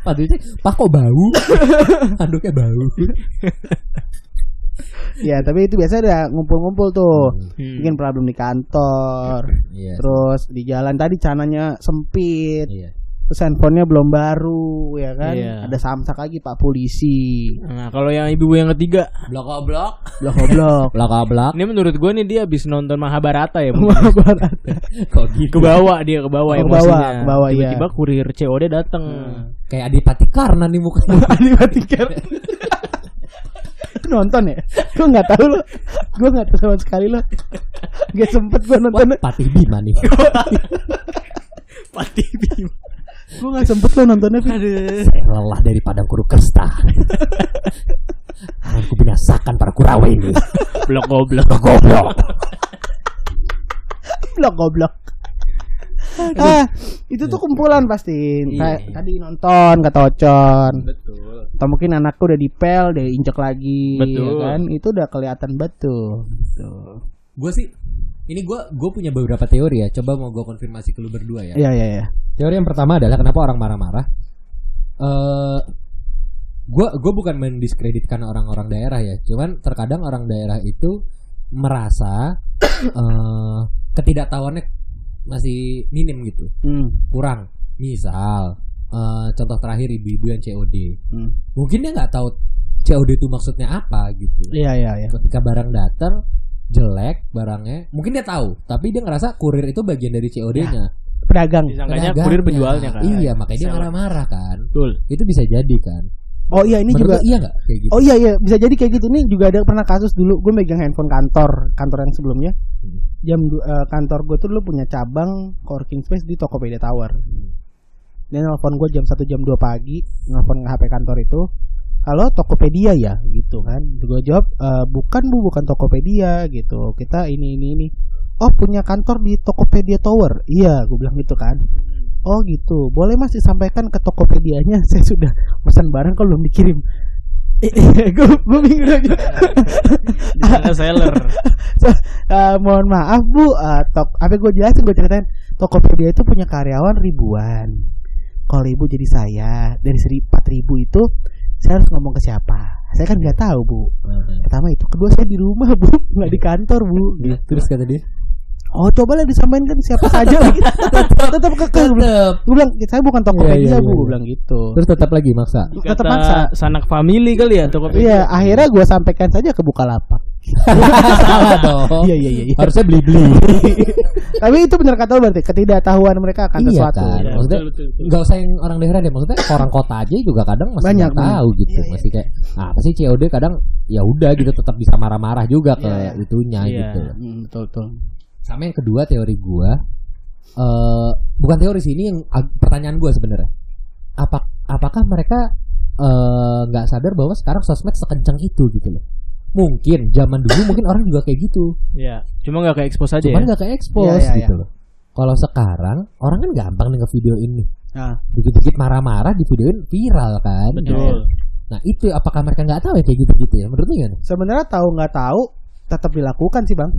S2: Pak Dwi, Pak kok bau? Anduknya bau.
S1: ya tapi itu biasanya udah ngumpul-ngumpul tuh
S3: Hmm.
S1: bikin problem di kantor
S2: Iya.
S1: terus di jalan tadi cananya sempit
S2: Iya.
S1: terus handphonenya belum baru ya kan
S3: Iya.
S1: ada samsak lagi pak polisi
S3: Nah, kalau yang ibu yang ketiga,
S2: Blok blok.
S1: blok blok
S2: Blok blok.
S3: ini menurut gue nih dia habis nonton Mahabharata ya. Bu.
S1: Barat.
S2: Kok gitu?
S3: ke bawah dia ke bawah
S1: Ke
S3: emosinya.
S1: bawah, ke bawah, iya.
S3: Tiba-tiba kurir COD datang.
S2: Kayak Adipati Karna nih mukanya.
S1: Adipati Karna. kan? nonton ya? Gue nggak tahu lo. Gue nggak tahu sama sekali lo. Gak sempet gue
S2: Wah,
S1: nonton.
S2: Patih Bima nih.
S3: Pati Bima.
S1: Gue nggak sempet lo nontonnya. Fit.
S2: Saya lelah dari padang guru kesta. Akan ku binasakan para kurawa ini.
S3: Blok goblok.
S2: Blok blok.
S1: Goblok goblok. Ah, itu tuh kumpulan pasti. Kayak
S2: Iya.
S1: Tadi nonton kata Ocon.
S3: Betul.
S1: Atau mungkin anakku udah dipel, udah injek lagi,
S3: Betul.
S1: ya kan? Itu udah kelihatan betul.
S2: Gue sih ini gue gue punya beberapa teori ya. Coba mau gue konfirmasi ke lu berdua ya.
S1: Iya, iya, iya.
S2: Teori yang pertama adalah kenapa orang marah-marah. Eh, gue gue bukan mendiskreditkan orang-orang daerah ya. Cuman terkadang orang daerah itu merasa eh ketidaktahuannya masih minim gitu,
S1: Hmm.
S2: kurang. Misal eh, contoh terakhir ibu-ibu yang COD,
S1: Hmm.
S2: mungkin dia nggak tahu COD itu maksudnya apa gitu
S1: Iya, iya, iya.
S2: ketika barang datang jelek barangnya mungkin dia tahu tapi dia ngerasa kurir itu bagian dari COD-nya
S1: Pedagang.
S3: Disangkanya
S2: Pedagangnya.
S3: kurir penjualnya kan.
S2: iya makanya dia
S3: Seller.
S2: marah-marah kan
S3: Betul.
S2: itu bisa jadi kan
S1: Oh iya, ini
S2: Menurut
S1: juga
S2: lu iya nggak kayak gitu
S1: Oh iya iya bisa jadi kayak gitu nih juga ada pernah kasus dulu gue megang handphone kantor kantor yang sebelumnya
S2: Hmm.
S1: jam du- eh, kantor gue tuh dulu punya cabang coworking space di Tokopedia Tower
S2: Hmm.
S1: dan nelfon gue jam 1 jam 2 pagi nelfon ke HP kantor itu halo Tokopedia ya gitu kan gue jawab "Eh, bukan bu bukan Tokopedia gitu kita ini ini ini oh punya kantor di Tokopedia Tower iya gue bilang gitu kan
S2: Hmm.
S1: oh gitu boleh mas disampaikan ke Tokopedianya saya sudah pesan barang kalau belum dikirim gue gue bingung lagi.
S3: Disangka seller.
S1: Eh, mohon maaf bu, eh, tok, apa gue jelasin gue ceritain Tokopedia itu punya karyawan ribuan. Kalau ibu jadi saya dari seri empat ribu itu saya harus ngomong ke siapa? Saya kan nggak tahu bu.
S2: Heeh.
S1: Pertama itu, kedua saya di rumah bu, nggak di kantor bu. Gitu.
S2: terus kata dia
S1: Oh cobalah disampaikan siapa saja lagi. Tetap kekeh. Gue bilang-
S2: tetap
S1: gue bilang saya bukan Tokopedia
S2: Iya, iya,
S1: bu,
S2: iya.
S1: gue bilang gitu.
S2: terus tetap lagi maksa
S1: Tetap maksa.
S3: Kata sanak family kali ya Tokopedia.
S1: Iya, akhirnya gue sampaikan saja ke Bukalapak.
S2: salah dong
S1: Iya, iya, iya, iya.
S2: harusnya beli beli
S1: Tapi itu benar kata lo berarti ketidaktahuan mereka akan
S2: iya
S1: sesuatu.
S2: kan
S3: Iya,
S2: maksudnya
S3: betul, betul, betul.
S2: nggak usah yang orang daerah deh maksudnya orang kota aja juga kadang masih
S1: Banyak, Iya,
S2: nggak tahu gitu masih kayak "Ah, apa sih COD kadang ya udah gitu tetap bisa marah-marah juga ke
S1: Iya, iya.
S2: itunya
S3: Iya.
S2: gitu
S1: Hmm, betul betul.
S2: sama yang kedua teori gua eh bukan teori sih ini yang ag- pertanyaan gua sebenarnya apa apakah mereka eh, nggak sadar bahwa sekarang sosmed sekencang itu gitu loh mungkin zaman dulu mungkin orang juga kayak gitu
S3: Iya. Cuma nggak ke expose aja
S2: cuman
S3: ya.
S2: nggak kayak expose
S1: Iya, iya,
S2: gitu loh kalau sekarang orang kan gampang nih video ini
S1: Ah.
S2: dikit-dikit marah-marah di videoin viral kan
S3: Betul.
S2: nah itu apakah mereka nggak tahu ya kayak gitu gitu ya menurut lu gimana
S1: Sebenarnya tahu nggak tahu tetap dilakukan sih bang.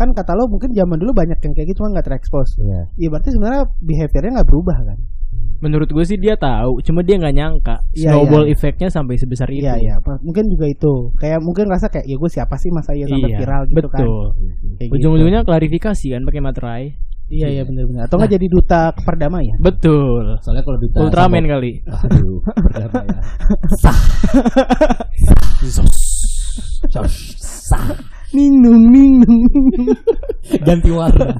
S1: Kan kata lo mungkin zaman dulu banyak yang kayak gitu cuma nggak terekspos.
S2: Iya.
S1: Ya berarti sebenarnya behaviornya nggak berubah kan?
S3: Menurut gue sih dia tahu, cuma dia nggak nyangka
S1: Iya,
S3: snowball
S1: iya.
S3: efeknya sampai sebesar itu.
S1: Iya iya, pa- mungkin juga itu. Kayak mungkin rasa kayak ya gue siapa sih masa iya sampai
S3: Iya,
S1: viral gitu kan.
S3: betul.
S1: Kayak gitu.
S3: Ujung-ujungnya klarifikasi kan pakai materai.
S1: Iya iya benar-benar. Atau nggak jadi duta perdamaian?
S3: Betul.
S2: Nah, Soalnya kalau duta
S3: Ultraman
S2: sama-
S3: kali.
S2: Aduh, berapa ya? Sah. Sah. Sah.
S1: Ningnung ningnung. ningnung.
S2: Ganti warna.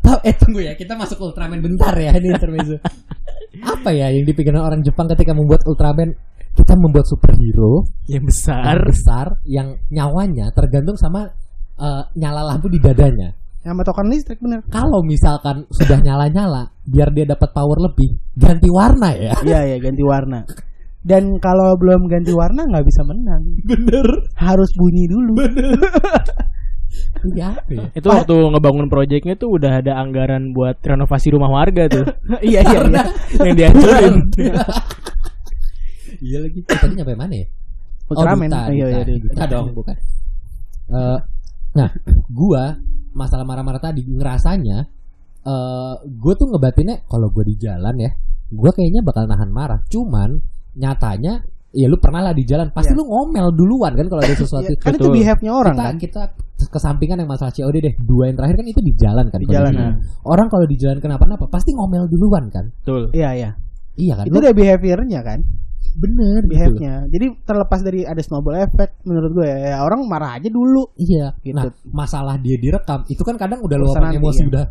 S2: Ta- eh tunggu ya, kita masuk Ultraman bentar ya ini intermezzo. Apa ya yang dipikirkan orang Jepang ketika membuat Ultraman? Kita membuat superhero
S3: Yang
S2: yang
S3: besar.
S2: besar yang nyawanya tergantung sama eh, nyala lampu di dadanya.
S1: Sama token listrik bener.
S2: Kalau misalkan sudah nyala-nyala, biar dia dapat power lebih, ganti warna ya.
S1: Iya iya ganti warna. Dan kalau belum ganti warna nggak bisa menang.
S2: Bener.
S1: Harus bunyi dulu.
S2: Iya. iya.
S3: Itu waktu ngebangun proyeknya tuh udah ada anggaran buat renovasi rumah warga tuh.
S1: iya iya iya.
S3: yang dihancurin.
S2: Iya lagi. Eh, Tadi nyampe mana ya?
S1: Ultraman.
S2: Oh, duta,
S1: Iya, iya,
S2: duta,
S1: duta.
S2: duta dong, bukan. Eh, nah, gua masalah marah-marah tadi ngerasanya eh gua tuh ngebatinnya kalau gua di jalan ya, gua kayaknya bakal nahan marah. Cuman nyatanya ya lu pernah lah di jalan
S1: Iya.
S2: pasti lu ngomel duluan kan kalau ada sesuatu
S1: Iya, Kan itu
S3: betul.
S1: behave-nya orang
S2: kita,
S1: kan.
S2: kita kesampingan yang masalah COD deh dua yang terakhir kan itu di jalan kan
S1: Di jalan.
S2: kondisinya.
S1: nah.
S2: orang kalau di jalan kenapa-napa pasti ngomel duluan kan
S3: Betul.
S1: Iya iya.
S2: iya kan
S1: Itu
S2: Lu
S1: udah behaviornya kan.
S2: bener gitu
S1: behave-nya. Jadi terlepas dari ada snowball effect menurut gue ya, ya orang marah aja dulu.
S2: Iya.
S1: Gitu.
S2: Nah, masalah dia direkam itu kan kadang udah
S1: Urusan
S2: luapan
S1: nanti,
S2: emosi
S1: iya.
S2: udah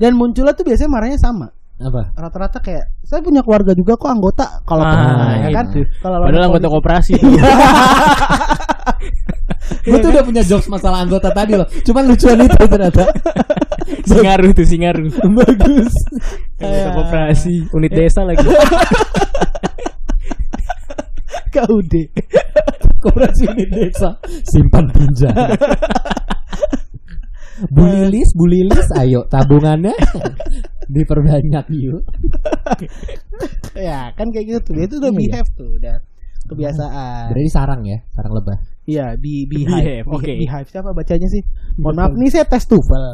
S1: Dan munculnya tuh biasanya marahnya sama.
S2: apa?
S1: Rata-rata kayak saya punya keluarga juga kok anggota kalau
S3: Ah,
S1: pernah ya kan.
S2: gitu.
S1: Kalau Iya,
S3: Padahal anggota
S1: polisi-
S3: koperasi tuh.
S2: Gue tuh udah punya jokes masalah anggota tadi loh. Cuman lucuan itu ternyata.
S3: Singaruh tuh Singaruh.
S2: Bagus.
S3: Anggota koperasi, unit desa lagi.
S1: KUD.
S2: Koperasi unit desa. Simpan pinjam. Bu
S1: Eh.
S2: Lilis, Bu Lilis, ayo tabungannya diperbanyak yuk.
S1: ya, kan kayak gitu tuh. Itu udah
S2: Iya.
S1: behave tuh, udah kebiasaan.
S2: Berarti sarang ya, sarang lebah.
S1: Iya, di
S3: Behave,
S1: behive. Be-
S3: oke.
S1: Behive siapa bacanya sih? Mohon maaf nih saya tes TOEFL.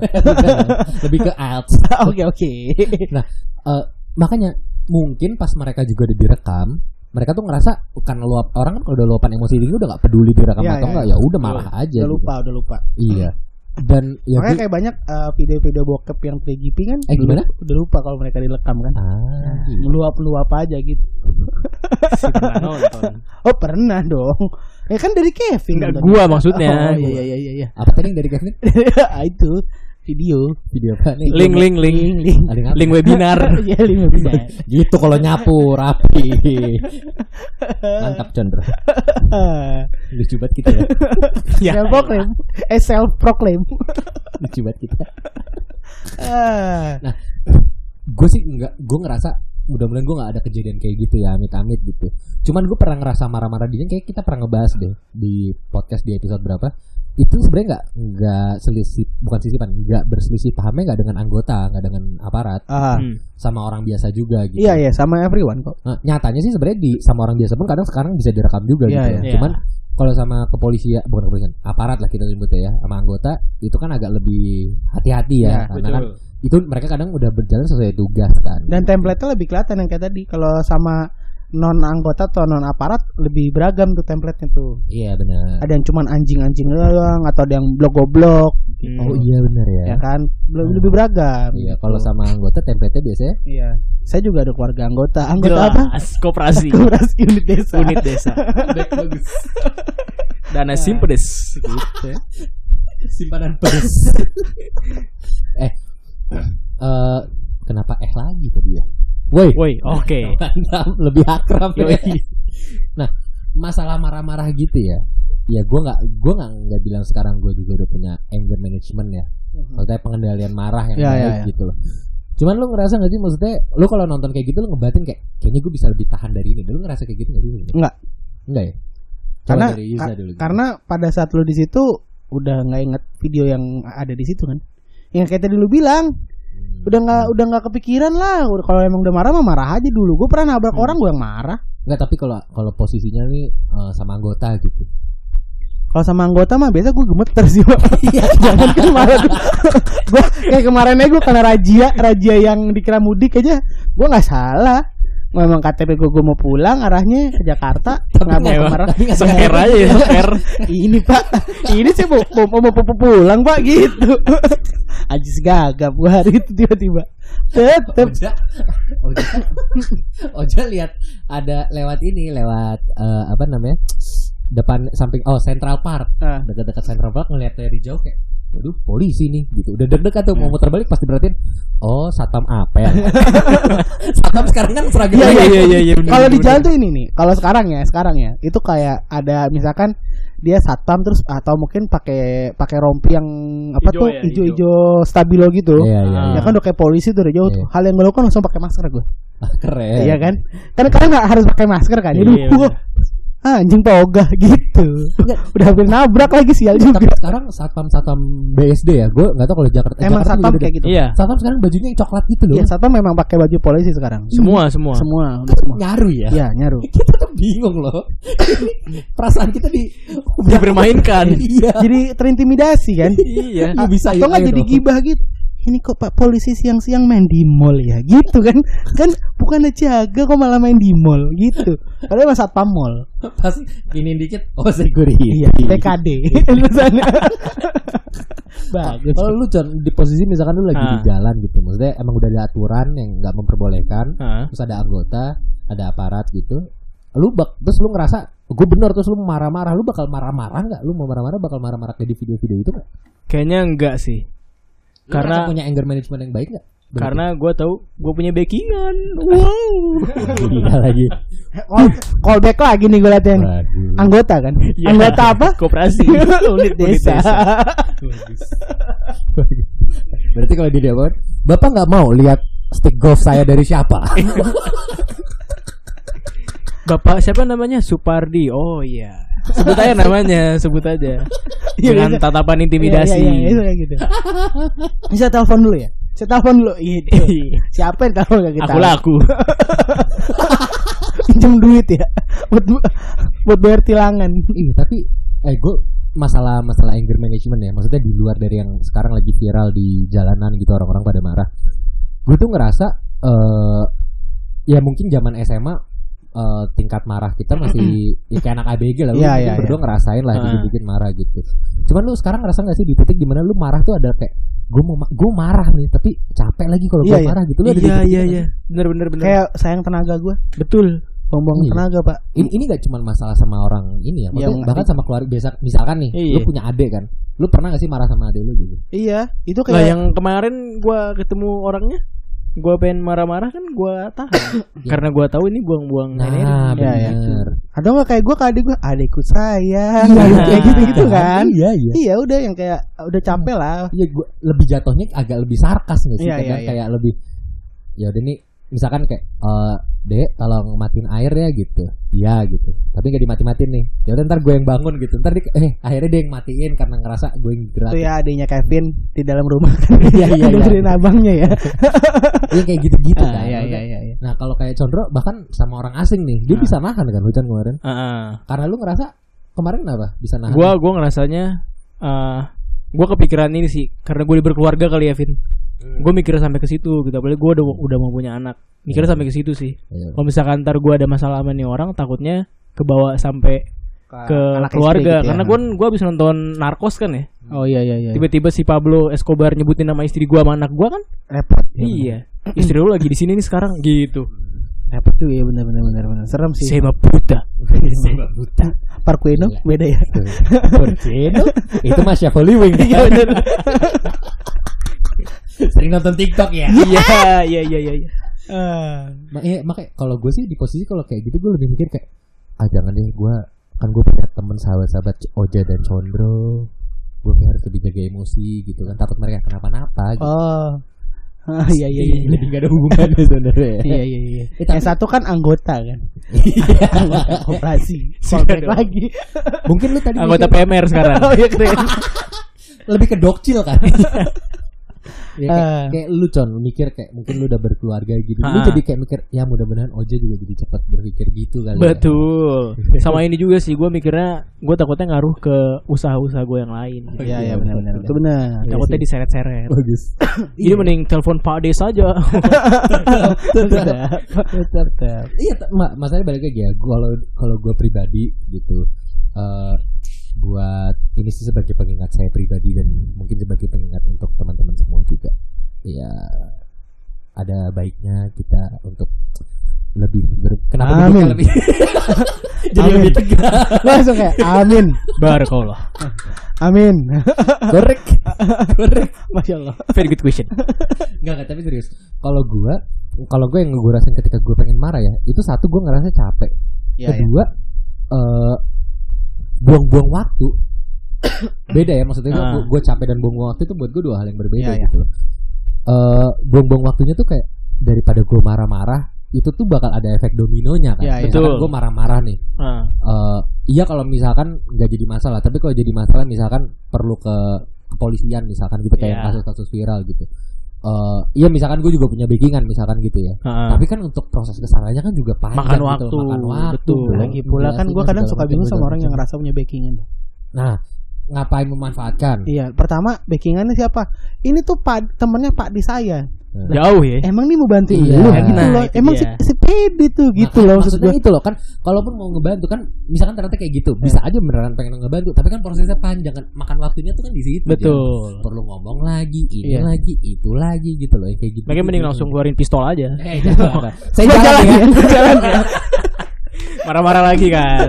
S2: Lebih ke alt.
S1: Oke, oke.
S2: Eh, makanya mungkin pas mereka juga udah direkam mereka tuh ngerasa kan luap orang kan kalau udah luapan emosi itu udah gak peduli direkam
S1: Iya,
S2: atau
S1: iya,
S2: enggak ya udah marah aja
S1: Udah
S2: gitu.
S1: lupa, udah lupa.
S2: iya dan ya
S1: Makanya
S2: gue-
S1: kayak banyak eh, video-video bokep yang 3GP kan
S2: Eh, gimana?
S1: udah lupa kalau mereka direkam kan.
S2: ah,
S1: Meluap-luap aja gitu.
S3: Si pernah nonton.
S1: Oh, pernah dong. Ya kan dari Kevin.
S3: Enggak
S1: nonton.
S3: gua maksudnya.
S1: Oh, iya iya iya iya, iya.
S2: apa tadi yang dari Kevin
S1: Ah, itu video.
S2: video apa nih
S3: Link link link.
S1: link.
S2: Ada yang apa?
S3: Link webinar.
S1: Iya, link webinar.
S2: gitu kalau nyapu rapi mantap Chandra
S1: Ah,
S2: lucu banget kita ya
S1: Self-proclaim. Eh, self-proclaim.
S2: lucu banget kita
S1: Ah.
S2: gue sih nggak gue ngerasa mudah-mudahan gue nggak ada kejadian kayak gitu ya amit-amit gitu cuman gue pernah ngerasa marah-marah dia kayak kita pernah ngebahas deh di podcast di episode berapa itu sebenarnya nggak nggak selisih bukan sisipan nggak berselisih pahamnya nggak dengan anggota nggak dengan aparat
S1: Ah.
S3: Hmm.
S2: sama orang biasa juga gitu
S1: Iya iya sama everyone kok.
S2: Nah, nyatanya sih sebenarnya di sama orang biasa pun kadang sekarang bisa direkam juga
S1: Iya,
S2: gitu ya.
S3: iya.
S2: cuman kalau sama kepolisian bukan kepolisian aparat lah kita sebutnya ya sama anggota itu kan agak lebih hati-hati ya
S1: Iya,
S2: karena kan itu mereka kadang udah berjalan sesuai tugas kan
S1: Dan template-nya lebih kelihatan yang kayak tadi kalau sama non anggota atau non aparat lebih beragam tuh template-nya tuh.
S2: Iya benar.
S1: Ada yang cuman anjing-anjing doang atau ada yang blok-goblok
S3: Hmm.
S2: Oh iya benar ya.
S1: ya kan? Lebih, lebih beragam.
S2: Iya, kalau sama anggota template biasanya
S1: Iya. Saya juga ada keluarga anggota. Anggota
S2: Iya.
S1: apa?
S3: Jelas, koperasi.
S1: Koperasi unit desa.
S3: unit desa.
S2: bagus.
S3: Dana simpedes gitu.
S2: Simpanan pedes. eh. Eh kenapa eh lagi tadi ya? Woi,
S3: Woi, oke.
S2: mantap, lebih akrab
S1: Iya.
S2: ya.
S3: Yoi.
S2: Nah, masalah marah-marah gitu ya. Ya gue nggak gue nggak nggak bilang sekarang gue juga udah punya anger management ya.
S1: Iya.
S2: Maksudnya pengendalian marah yang
S1: Ya,
S2: baik
S1: ya, ya.
S2: gitu loh. Cuman lu ngerasa gak sih maksudnya lu kalau nonton kayak gitu lu ngebatin kayak kayaknya gue bisa lebih tahan dari ini. Lu ngerasa kayak gitu gak sih?
S1: Nggak.
S2: Enggak ya? Coba
S1: Karena
S2: dari Iza
S1: ka-
S2: dulu. gitu.
S1: karena pada saat lu di situ udah nggak inget video yang ada di situ kan. Yang kayak tadi lu bilang,
S2: Hmm.
S1: udah nggak udah nggak kepikiran lah. Udah- Kalau emang udah marah mah marah aja dulu. Gue pernah
S2: Hmm.
S1: nabrak orang gue yang marah.
S2: Enggak tapi kalau kalau posisinya nih eh, sama anggota gitu.
S1: Kalau sama anggota mah biasa gue gemeter sih Pak. Jangan kan kemarin gue kayak kemarin aja gue karena rajia rajia yang dikira mudik aja gue nggak salah. Memang KTP gue, gue mau pulang arahnya ke Jakarta nggak mau
S2: Emang,
S1: kemarin.
S2: tapi nggak
S3: Sengker
S2: sengaja.
S3: aja ya, sengker.
S1: Ini pak, ini saya mau mau, mau, mau pulang pak gitu. Ajis gagap gue hari itu tiba-tiba. Tetep
S2: Oja, Oja, Oja lihat ada lewat ini, lewat eh, apa namanya? Depan samping oh Central Park.
S1: Ah.
S2: Dekat-dekat Central Park ngeliat dari jauh kayak Waduh polisi nih gitu Udah deg-degan tuh Mau muter balik pasti berarti Oh Satam apa ya Satam sekarang kan seragam
S1: Iya,
S3: Iya
S1: iya,
S3: iya iya iya. bener,
S1: Kalau di
S3: bener,
S1: jalan tuh ini nih. Kalau sekarang ya, sekarang ya, itu kayak ada misalkan dia satpam terus atau mungkin pakai pakai rompi yang apa
S3: Ijo
S1: tuh
S3: ya,
S1: ijo-ijo stabilo gitu.
S2: Iya iya
S1: Ya
S2: iya.
S1: kan udah kayak polisi tuh udah jauh. tuh.
S2: Iya.
S1: Hal yang gue lakukan langsung pakai masker gue.
S2: Ah, Keren
S1: Iya kan? Karena kalian nggak harus pakai masker kan? Jadi
S3: Iya,
S1: gua, "Ah, anjing pogah gitu. udah hampir nabrak lagi sial
S2: Tapi
S1: juga.
S2: sekarang Satpam-Satpam BSD ya Gue gak tau kalau Jakarta eh,
S1: Emang
S2: Jakarta juga
S1: satpam
S2: ada.
S1: kayak gitu.
S3: Iya.
S2: Satpam sekarang bajunya yang coklat gitu loh
S1: Iya, satpam memang pakai baju polisi sekarang.
S3: Semua semua.
S1: Semua, udah semua.
S2: Nyaru ya
S1: Iya, nyaru.
S2: kita tuh bingung loh perasaan kita di
S3: Dipermainkan.
S2: iya
S1: Jadi terintimidasi kan?
S3: Iya.
S2: Lu bisa
S1: atau
S2: ya,
S1: nggak
S2: ayo
S1: jadi
S2: dong.
S1: gibah gitu ini kok pak polisi siang-siang main di mall ya gitu kan kan bukannya jaga kok malah main di mall gitu padahal masa satpam mall
S2: pasti gini dikit oh security
S1: iya PKD tulisannya bagus
S2: kalau lu John, di posisi misalkan lu lagi di
S3: Ah.
S2: jalan gitu maksudnya emang udah ada aturan yang nggak memperbolehkan
S3: Ah.
S2: terus ada anggota ada aparat gitu lu bak terus lu ngerasa gue bener terus lu marah-marah lu bakal marah-marah nggak lu mau marah-marah bakal marah-marah kayak di video-video itu nggak
S3: Kayaknya enggak sih.
S2: Lu
S3: Karena-
S2: ngerasa punya anger management yang baik nggak Berarti-
S3: Karena gue tahu gue punya backingan. Wow.
S2: Gila lagi
S1: call, call back Oh, lagi nih gue liatin
S2: Waduh.
S1: anggota kan
S3: Iya.
S1: anggota apa
S3: Koperasi.
S1: unit desa
S2: Berarti kalau di Depok, Bapak nggak mau lihat stick golf saya dari siapa?
S3: Bapak siapa namanya? Supardi. Oh iya. Sebut aja namanya, sebut aja.
S1: Iya,
S3: Dengan
S1: bisa.
S3: tatapan intimidasi.
S1: Iya, iya, iya, itu kayak gitu bisa telepon dulu ya saya telepon dulu gitu siapa yang telepon gak kita
S3: Iya, Aku laku.
S1: pinjam duit ya buat buat bayar tilangan
S2: Iya, tapi eh gue masalah masalah anger management ya. Maksudnya di luar dari yang sekarang lagi viral di jalanan gitu orang-orang pada marah. Gue tuh ngerasa eh ya mungkin zaman SMA eh, tingkat marah kita masih ya kayak anak ABG lah. Lu
S1: Iya,
S2: mungkin
S1: iya,
S2: berdua ngerasain lah
S3: Ah.
S2: dibikin marah gitu. Cuman lu sekarang ngerasa gak sih di titik dimana lu marah tuh ada kayak gue mau gue marah nih tapi capek lagi kalau gue
S1: Iya, iya.
S2: marah gitu lu ada di
S3: Iya
S2: titik
S3: iya
S2: itu
S3: iya. Bener bener bener.
S1: kayak sayang tenaga gue
S3: betul.
S1: buang-buang
S2: Iya.
S1: tenaga pak
S2: ini ini gak cuma masalah sama orang ini ya, maksudnya
S1: Yang-
S2: bahkan sama keluarga biasa misalkan nih,
S3: Iya.
S2: lu punya adik kan, lu pernah gak sih marah sama adik lu gitu?
S1: iya itu
S3: Lah
S1: kayak
S3: yang kemarin gua ketemu orangnya, gua pengen marah-marah kan gua tahan. Karena gua tahu ini buang-buang
S2: Nah,
S3: energi.
S1: Iya, iya.
S2: bener.
S1: ada nggak kayak gue ke adik gue adikku sayang
S2: Iya.
S1: kayak gitu gitu kan
S2: Iya iya.
S1: iya udah yang kayak udah capek lah
S2: Iya, gua lebih jatuhnya agak lebih sarkas gak sih?
S1: Iya,
S2: Kadang
S1: iya, iya.
S2: Kayak lebih, ya udah nih, misalkan kayak, eh dek tolong matiin air ya gitu, iya gitu. Tapi gak dimati-matiin nih, ya udah ntar gue yang bangun gitu, ntar dia, eh akhirnya dia yang matiin karena ngerasa gue yang gerak.
S1: itu ya adiknya Kevin di dalam rumah
S2: Iya iya iya.
S1: dengerin abangnya ya
S2: Iya kayak gitu-gitu
S1: Ah,
S2: kan.
S1: iya iya iya iya.
S2: Nah kalau kayak Condro bahkan sama orang asing nih, dia
S3: Nah.
S2: bisa nahan kan hujan kemarin.
S3: Heeh.
S2: Karena lu ngerasa kemarin kenapa bisa
S1: Nah.
S2: nahan?
S3: Gua gua ngerasanya eh gua kepikiran ini sih karena gue berkeluarga kali ya Vin.
S1: Hmm.
S3: Gue mikir sampai ke situ gitu. Apalagi gua udah udah mau punya anak. Mikirnya sampai ke situ sih.
S2: Iya.
S3: Kalau misalkan ntar gua ada masalah sama nih orang takutnya kebawa sampai ke
S1: Anak SD
S3: keluarga
S1: gitu ya.
S3: karena gue gue habis nonton narkos kan ya
S1: oh iya iya iya
S3: tiba-tiba si Pablo Escobar nyebutin nama istri gue sama anak gue kan
S1: repot
S3: iya istri lu lagi di sini nih sekarang gitu
S1: repot tuh ya benar benar benar benar serem sih
S3: Seba buta
S2: buta.
S1: Parkueno
S2: Iya.
S1: beda ya
S2: Torpedo? itu mah Chef Wing.
S3: iya bener
S2: Sering nonton TikTok ya.
S3: iya iya iya iya iya.
S2: Ma- iya, makanya kalau gue sih di posisi kalau kayak gitu gue lebih mikir kayak ah jangan deh gue kan gue punya temen sahabat-sahabat Oja dan Condro gue kayak harus lebih jaga emosi gitu kan takut mereka kenapa-napa gitu.
S1: oh Ah, iya iya iya
S2: lebih gak ada hubungannya sebenarnya ya.
S1: iya iya iya
S2: Eh, tapi-
S1: yang satu kan anggota kan anggota koperasi
S3: Sudah
S1: Callback
S3: dong.
S1: lagi
S2: mungkin lu tadi
S1: iya.
S3: anggota
S2: mikir
S3: PMR sekarang
S1: oh iya keren
S2: lebih ke dokcil kan Ya, kayak,
S1: Eh.
S2: kayak lu con mikir kayak mungkin lu udah berkeluarga gitu. Lu
S3: Ah.
S2: jadi kayak mikir ya mudah-mudahan Oja juga jadi cepat berpikir gitu kali. ya.
S3: Betul. Sama ini juga sih gue mikirnya gue takutnya ngaruh ke usaha-usaha gue yang lain.
S1: Iya, iya benar benar. Iya. Itu benar.
S3: Takutnya diseret-seret.
S2: Bagus.
S3: Jadi mending telepon Pak D saja.
S2: Tetap, tetap, tetap. Iya, t- ma- masalahnya balik lagi ya. Gua kalau kalau gue pribadi gitu eh buat ini sih sebagai pengingat saya pribadi dan mungkin sebagai pengingat untuk teman-teman semua juga. Ya ada baiknya kita untuk lebih ber-
S1: Amin.
S2: kenapa dibuka lebih jadi
S1: Amin.
S2: lebih tegas
S1: Langsung kayak amin.
S3: Barakallah.
S1: Amin.
S2: korek korek
S1: Masya Allah.
S3: Very good question.
S2: Enggak, enggak, tapi serius. Kalau gua, kalau gue yang gue rasain ketika gue pengen marah ya, itu satu gue ngerasa capek.
S1: Iya,
S2: Kedua, eh, buang-buang waktu. Beda ya maksudnya
S3: Ah.
S2: gue, capek dan buang-buang waktu itu buat gue dua hal yang berbeda
S1: Iya, iya.
S2: gitu loh. Eh, buang-buang waktunya tuh kayak daripada gue marah-marah, itu tuh bakal ada efek dominonya kan.
S1: Iya, iya.
S3: Betul.
S2: gue marah-marah nih.
S3: Ah,
S2: Eh, iya kalau misalkan nggak jadi masalah, tapi kalau jadi masalah misalkan perlu ke kepolisian misalkan gitu kayak
S3: Iya.
S2: kasus-kasus viral gitu. Eh, iya misalkan gue juga punya backingan misalkan gitu ya.
S3: ah.
S2: Tapi kan untuk proses kesananya kan juga panjang
S3: Makan
S2: gitu,
S3: waktu,
S2: makan waktu.
S3: betul.
S1: Lagi pula kan gue
S2: Jelasinnya
S1: kadang
S2: segala
S1: suka
S2: macam,
S1: bingung
S2: segala
S1: sama orang yang
S2: macam.
S1: ngerasa punya backingan.
S2: Nah, ngapain memanfaatkan?
S1: Iya, pertama backingannya siapa? Ini tuh pak temennya Pak di saya.
S3: Jauh ya.
S1: Emang nih mau bantuin
S2: Iya.
S1: lu gitu
S3: Nah,
S1: loh.
S3: itu
S1: Emang
S3: dia.
S1: si, si pede tuh gitu
S2: Makanya
S1: loh maksud
S2: maksudnya
S1: gue.
S2: itu loh kan kalaupun mau ngebantu kan misalkan ternyata kayak gitu bisa aja beneran pengen ngebantu tapi kan prosesnya panjang kan makan waktunya tuh kan di situ Jon.
S3: Betul.
S2: perlu ngomong lagi ini
S3: Iya.
S2: lagi itu lagi gitu loh yang kayak gitu
S3: Makanya mending langsung keluarin pistol aja.
S2: Eh, jangan. Saya
S1: Lu
S2: jalan, ya.
S1: jalan ya.
S3: Marah-marah lagi kan.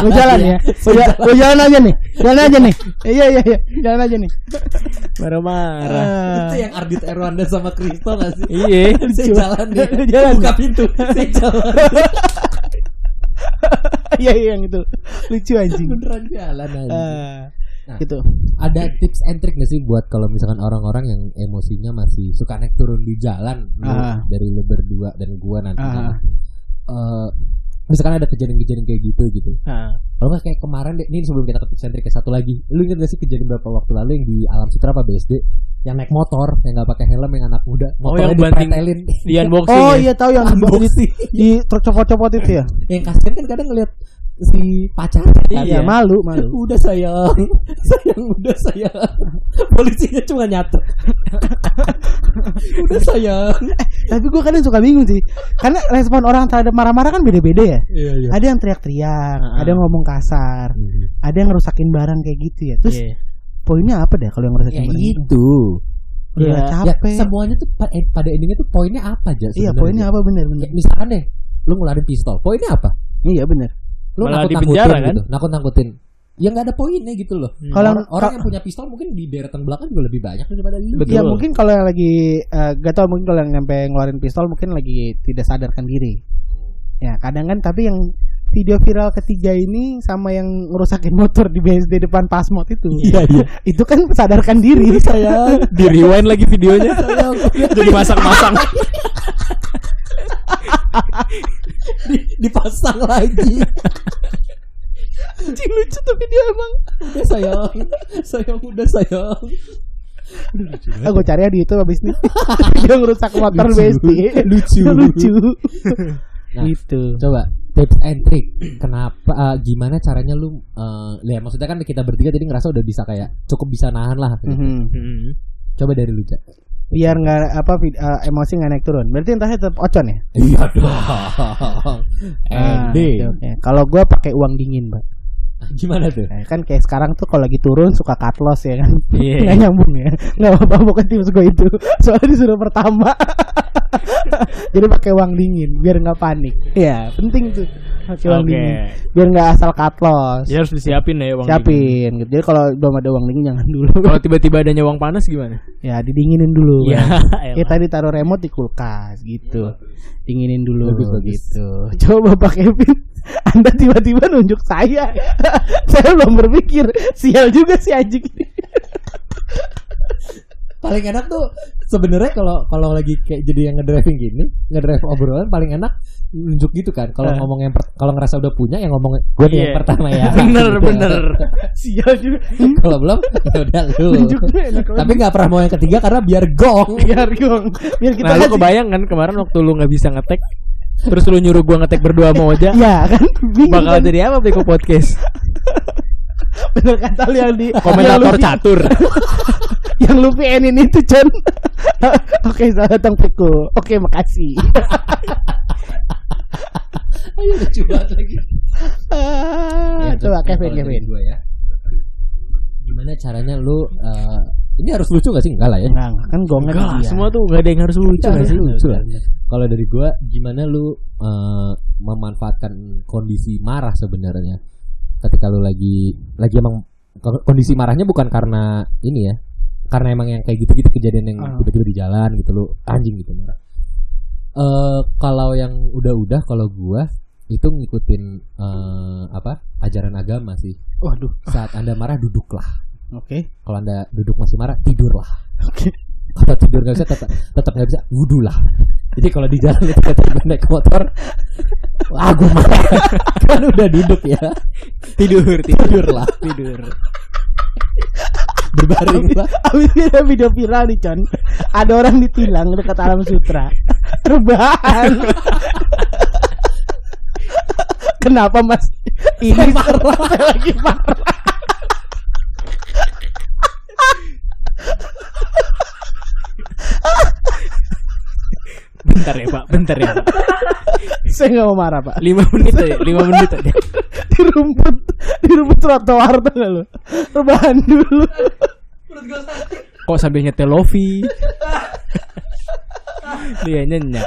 S1: Lu jalan ya. Lu jalan, lu jalan aja nih. Jalan aja nih. Iya iya iya. Jalan aja nih. Ah,
S3: Marah-marah.
S2: Itu yang Ardit Erwanda sama Kristo gak sih?
S3: Iya.
S2: Saya jalan ya.
S1: Lu jalan.
S2: Buka pintu. Saya jalan.
S1: Iya iya yang itu. Lucu anjing.
S2: Beneran jalan aja.
S1: Eh,
S2: Nah.
S1: gitu.
S2: Ada tips and trick gak sih buat kalau misalkan orang-orang yang emosinya masih suka naik turun di jalan lu-
S1: Ah.
S2: dari lu berdua dan gua nanti.
S1: Ah.
S2: Eh, misalkan ada kejadian-kejadian kayak gitu gitu.
S3: Nah,
S2: Kalau nggak kayak kemarin deh, ini sebelum kita ke tips and trick ya, satu lagi. Lu inget gak sih kejadian berapa waktu lalu yang di Alam Sutra apa BSD? Yang naik motor, yang nggak pakai helm, yang anak muda, motornya
S3: yang banting-
S2: dipretelin.
S3: di unboxing.
S1: Oh
S3: ya.
S1: iya tahu yang di, di, di truk copot-copot itu ya.
S2: yang kasihan kan kadang ngeliat si pacarnya kan
S1: Iya,
S2: ya.
S1: malu, malu.
S2: udah sayang sayang udah sayang polisinya cuma nyatet udah sayang
S1: Iya. Tapi gue kadang suka bingung sih. Karena respon orang terhadap marah-marah kan beda-beda ya.
S2: iya iya
S1: Ada yang teriak-teriak,
S3: Ah.
S1: ada yang ngomong kasar, ada yang ngerusakin barang kayak gitu ya.
S3: Iya.
S1: Terus poinnya apa deh kalau yang ngerusakin
S2: ya
S1: barang? itu?
S2: itu
S1: Udah
S3: Ya,
S2: ya
S1: capek.
S2: semuanya tuh pa- eh, pada endingnya tuh poinnya apa aja
S1: iya, poinnya apa bener-bener?
S2: misalkan deh lu ngeluarin pistol poinnya apa
S1: Iya bener.
S2: lu
S3: Malah
S2: nakut
S3: di penjara,
S2: nakutin
S3: kan?
S2: gitu nakut nakutin ya nggak ada poinnya gitu loh
S1: Kalau-
S2: orang, orang ya, yang punya pistol mungkin di deretan belakang juga lebih banyak daripada lu
S3: Betul.
S1: Iya mungkin kalau yang lagi eh, gak tau mungkin kalau yang nyampe ngeluarin pistol mungkin lagi tidak sadarkan diri. Ya kadang kan tapi yang video viral ketiga ini sama yang ngerusakin motor di BSD depan Pasmod itu.
S2: iya
S1: Itu kan sadarkan diri saya.
S3: Di rewind lagi videonya. Jadi masang-masang.
S2: dipasang lagi
S1: Anjing lucu tapi dia emang.
S2: udah sayang sayang udah sayang Aduh, lucu banget.
S1: Ah, gue cari di itu habis ini. dia ngerusak motor
S2: Lucu.
S1: BSD.
S2: Lucu.
S1: lucu.
S2: Nah.
S1: Gitu.
S2: coba tips and trick kenapa eh, gimana caranya lu eh, ya maksudnya kan kita bertiga jadi ngerasa udah bisa kayak cukup bisa nahan lah
S1: Mhm.
S3: Hmm.
S2: coba dari lu Cak.
S1: Biar nggak apa vid- eh, emosi nggak naik turun. Berarti entahnya tetap ocon ya.
S2: iya dong Eh,
S1: Ah,
S2: ending
S1: oke, oke. Kalau gue pakai uang dingin, Pak.
S2: gimana tuh
S1: Nah, kan kayak sekarang tuh kalau lagi turun suka cut loss ya kan.
S3: Iya.
S1: Nggak nyambung ya. Nggak apa-apa bukan tips gue itu. Soalnya disuruh pertama. Jadi pakai uang dingin biar nggak panik. Iya, penting tuh. Pakai uang
S3: Oke.
S1: dingin. Biar nggak asal cut loss.
S3: Jadi harus disiapin ya uang. dingin.
S1: Siapin gitu. Jadi kalau belum ada uang dingin jangan dulu.
S3: Kalau tiba-tiba adanya uang panas gimana?
S1: ya, didinginin dulu.
S3: kan.
S1: Bang.
S3: Iya, elah.
S1: Kita ditaruh remote di kulkas
S3: Iya,
S1: gitu. Dinginin dulu
S2: Bagus, bagus.
S1: gitu. Coba Pak Kevin, Anda tiba-tiba nunjuk saya. saya belum berpikir. Sial juga si anjing ini.
S2: paling enak tuh sebenarnya kalau kalau lagi kayak jadi yang ngedriving gini ngedrive obrolan paling enak nunjuk gitu kan. Kalau
S3: Eh.
S2: ngomong yang per- kalau ngerasa udah punya yang ngomong gue nih yang
S3: Iya.
S2: pertama ya.
S3: bener
S2: Gitu.
S3: bener sial juga
S2: Kalau belum ya udah lu.
S1: Nunjuknya enak banget.
S2: Tapi nggak pernah mau yang ketiga karena biar gong.
S1: biar gong biar kita
S3: nah lu
S1: kasih-
S3: kebayang kan kemarin waktu lu nggak bisa ngetek terus lu nyuruh gua ngetek berdua sama Oja
S1: Iya kan Bingung
S3: bakal
S1: kan?
S3: jadi apa Beko Podcast
S1: bener kata lu yang di
S3: komentator
S1: yang lu-
S3: catur
S1: yang lu PN-in itu Chan oke selamat datang Peko oke makasih
S2: Ayo lucu banget lagi.
S1: Ah,
S2: Ya,
S1: coba
S2: terus
S1: Kevin
S2: kalau dari
S1: Kevin
S2: gua ya. Gimana caranya lu eh, ini harus lucu gak sih? Enggak lah ya.
S1: enggak enggak. kan gongnya
S3: Enggak,
S1: dia
S3: semua tuh gak ada yang harus lucu
S2: Enggak
S3: gak
S2: sih
S3: sih?
S2: lucu lah. Iya, Kalau dari gua gimana lu eh, memanfaatkan kondisi marah sebenarnya ketika lu lagi lagi emang ko- kondisi marahnya bukan karena ini ya karena emang yang kayak gitu-gitu kejadian yang
S1: Ah.
S2: tiba-tiba di jalan gitu lu anjing gitu marah. Eh kalau yang udah-udah kalau gua itu ngikutin eh, apa ajaran agama sih
S1: waduh
S2: saat anda marah duduklah
S1: oke
S2: kalau anda duduk masih marah tidurlah
S1: oke
S2: kalau tidur nggak bisa tetap tetap nggak bisa wudulah jadi kalau di jalan itu kata gue naik motor wah gue marah kan udah duduk ya
S3: Tidur,
S2: tidurlah
S3: tidur.
S2: berbaringlah
S1: Abis ini ada video viral nih Con Ada orang ditilang dekat alam sutra Rebahan Kenapa mas Ini marah lagi marah
S3: Bentar ya pak, bentar ya pak.
S1: Saya gak mau marah pak
S3: Lima menit aja, lima menit aja.
S1: Di rumput Di rumput trotoar tuh gak lu Rebahan dulu
S3: Kok sambil nyetel Lofi? Iya, Dia nyenyak.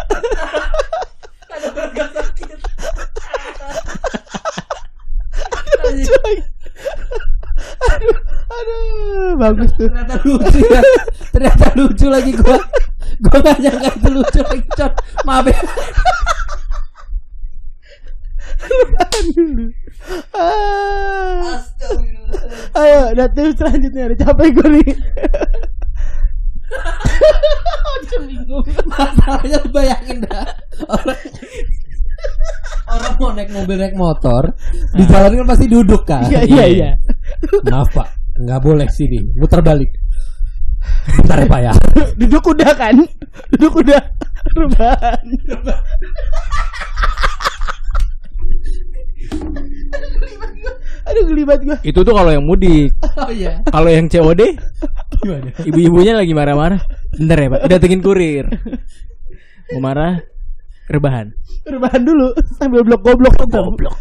S1: Coy. Aduh Aduh Bagus tuh
S2: ternyata lucu ya ternyata lucu lagi gue gue gak nyangka itu lucu lagi Con maaf ya
S1: Rebahan dulu Ah. Ayo Datil selanjutnya Udah capek gue nih
S2: masalahnya lu bayangin dah orang orang mau naik mobil naik motor di jalan kan pasti duduk kan
S1: Ah. Iya iya iya
S2: Maaf pak, nggak boleh sini. Muter balik. Bentar ya pak ya.
S1: duduk udah kan duduk udah rebahan aduh gelibat gua
S3: Itu tuh kalau yang mudik.
S2: Oh iya.
S3: Kalau yang COD,
S2: Gimana?
S3: ibu-ibunya lagi marah-marah. Bentar ya pak, datengin kurir. Mau marah, rebahan.
S1: rebahan dulu sambil blok goblok tuh goblok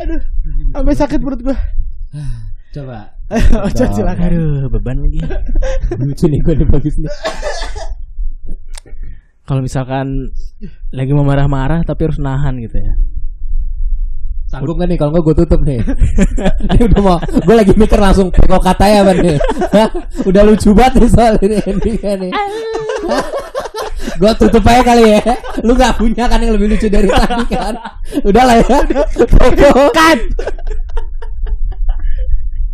S1: aduh sampai sakit perut gua
S2: Coba.
S1: Ayo, Ojo silakan
S3: Aduh, beban lagi.
S2: Lucu nih gue nih bagus nih.
S3: Kalau misalkan lagi mau marah-marah tapi harus nahan gitu ya.
S2: Sanggup nggak nih? Kalau nggak gue tutup nih. ini udah mau. Gue lagi mikir langsung pekok kata ya Ban, nih. Hah? udah lucu banget nih soal ini endingnya nih. gue tutup aja kali ya. Lu nggak punya kan yang lebih lucu dari tadi kan? Udah lah ya. Pekok.
S1: kan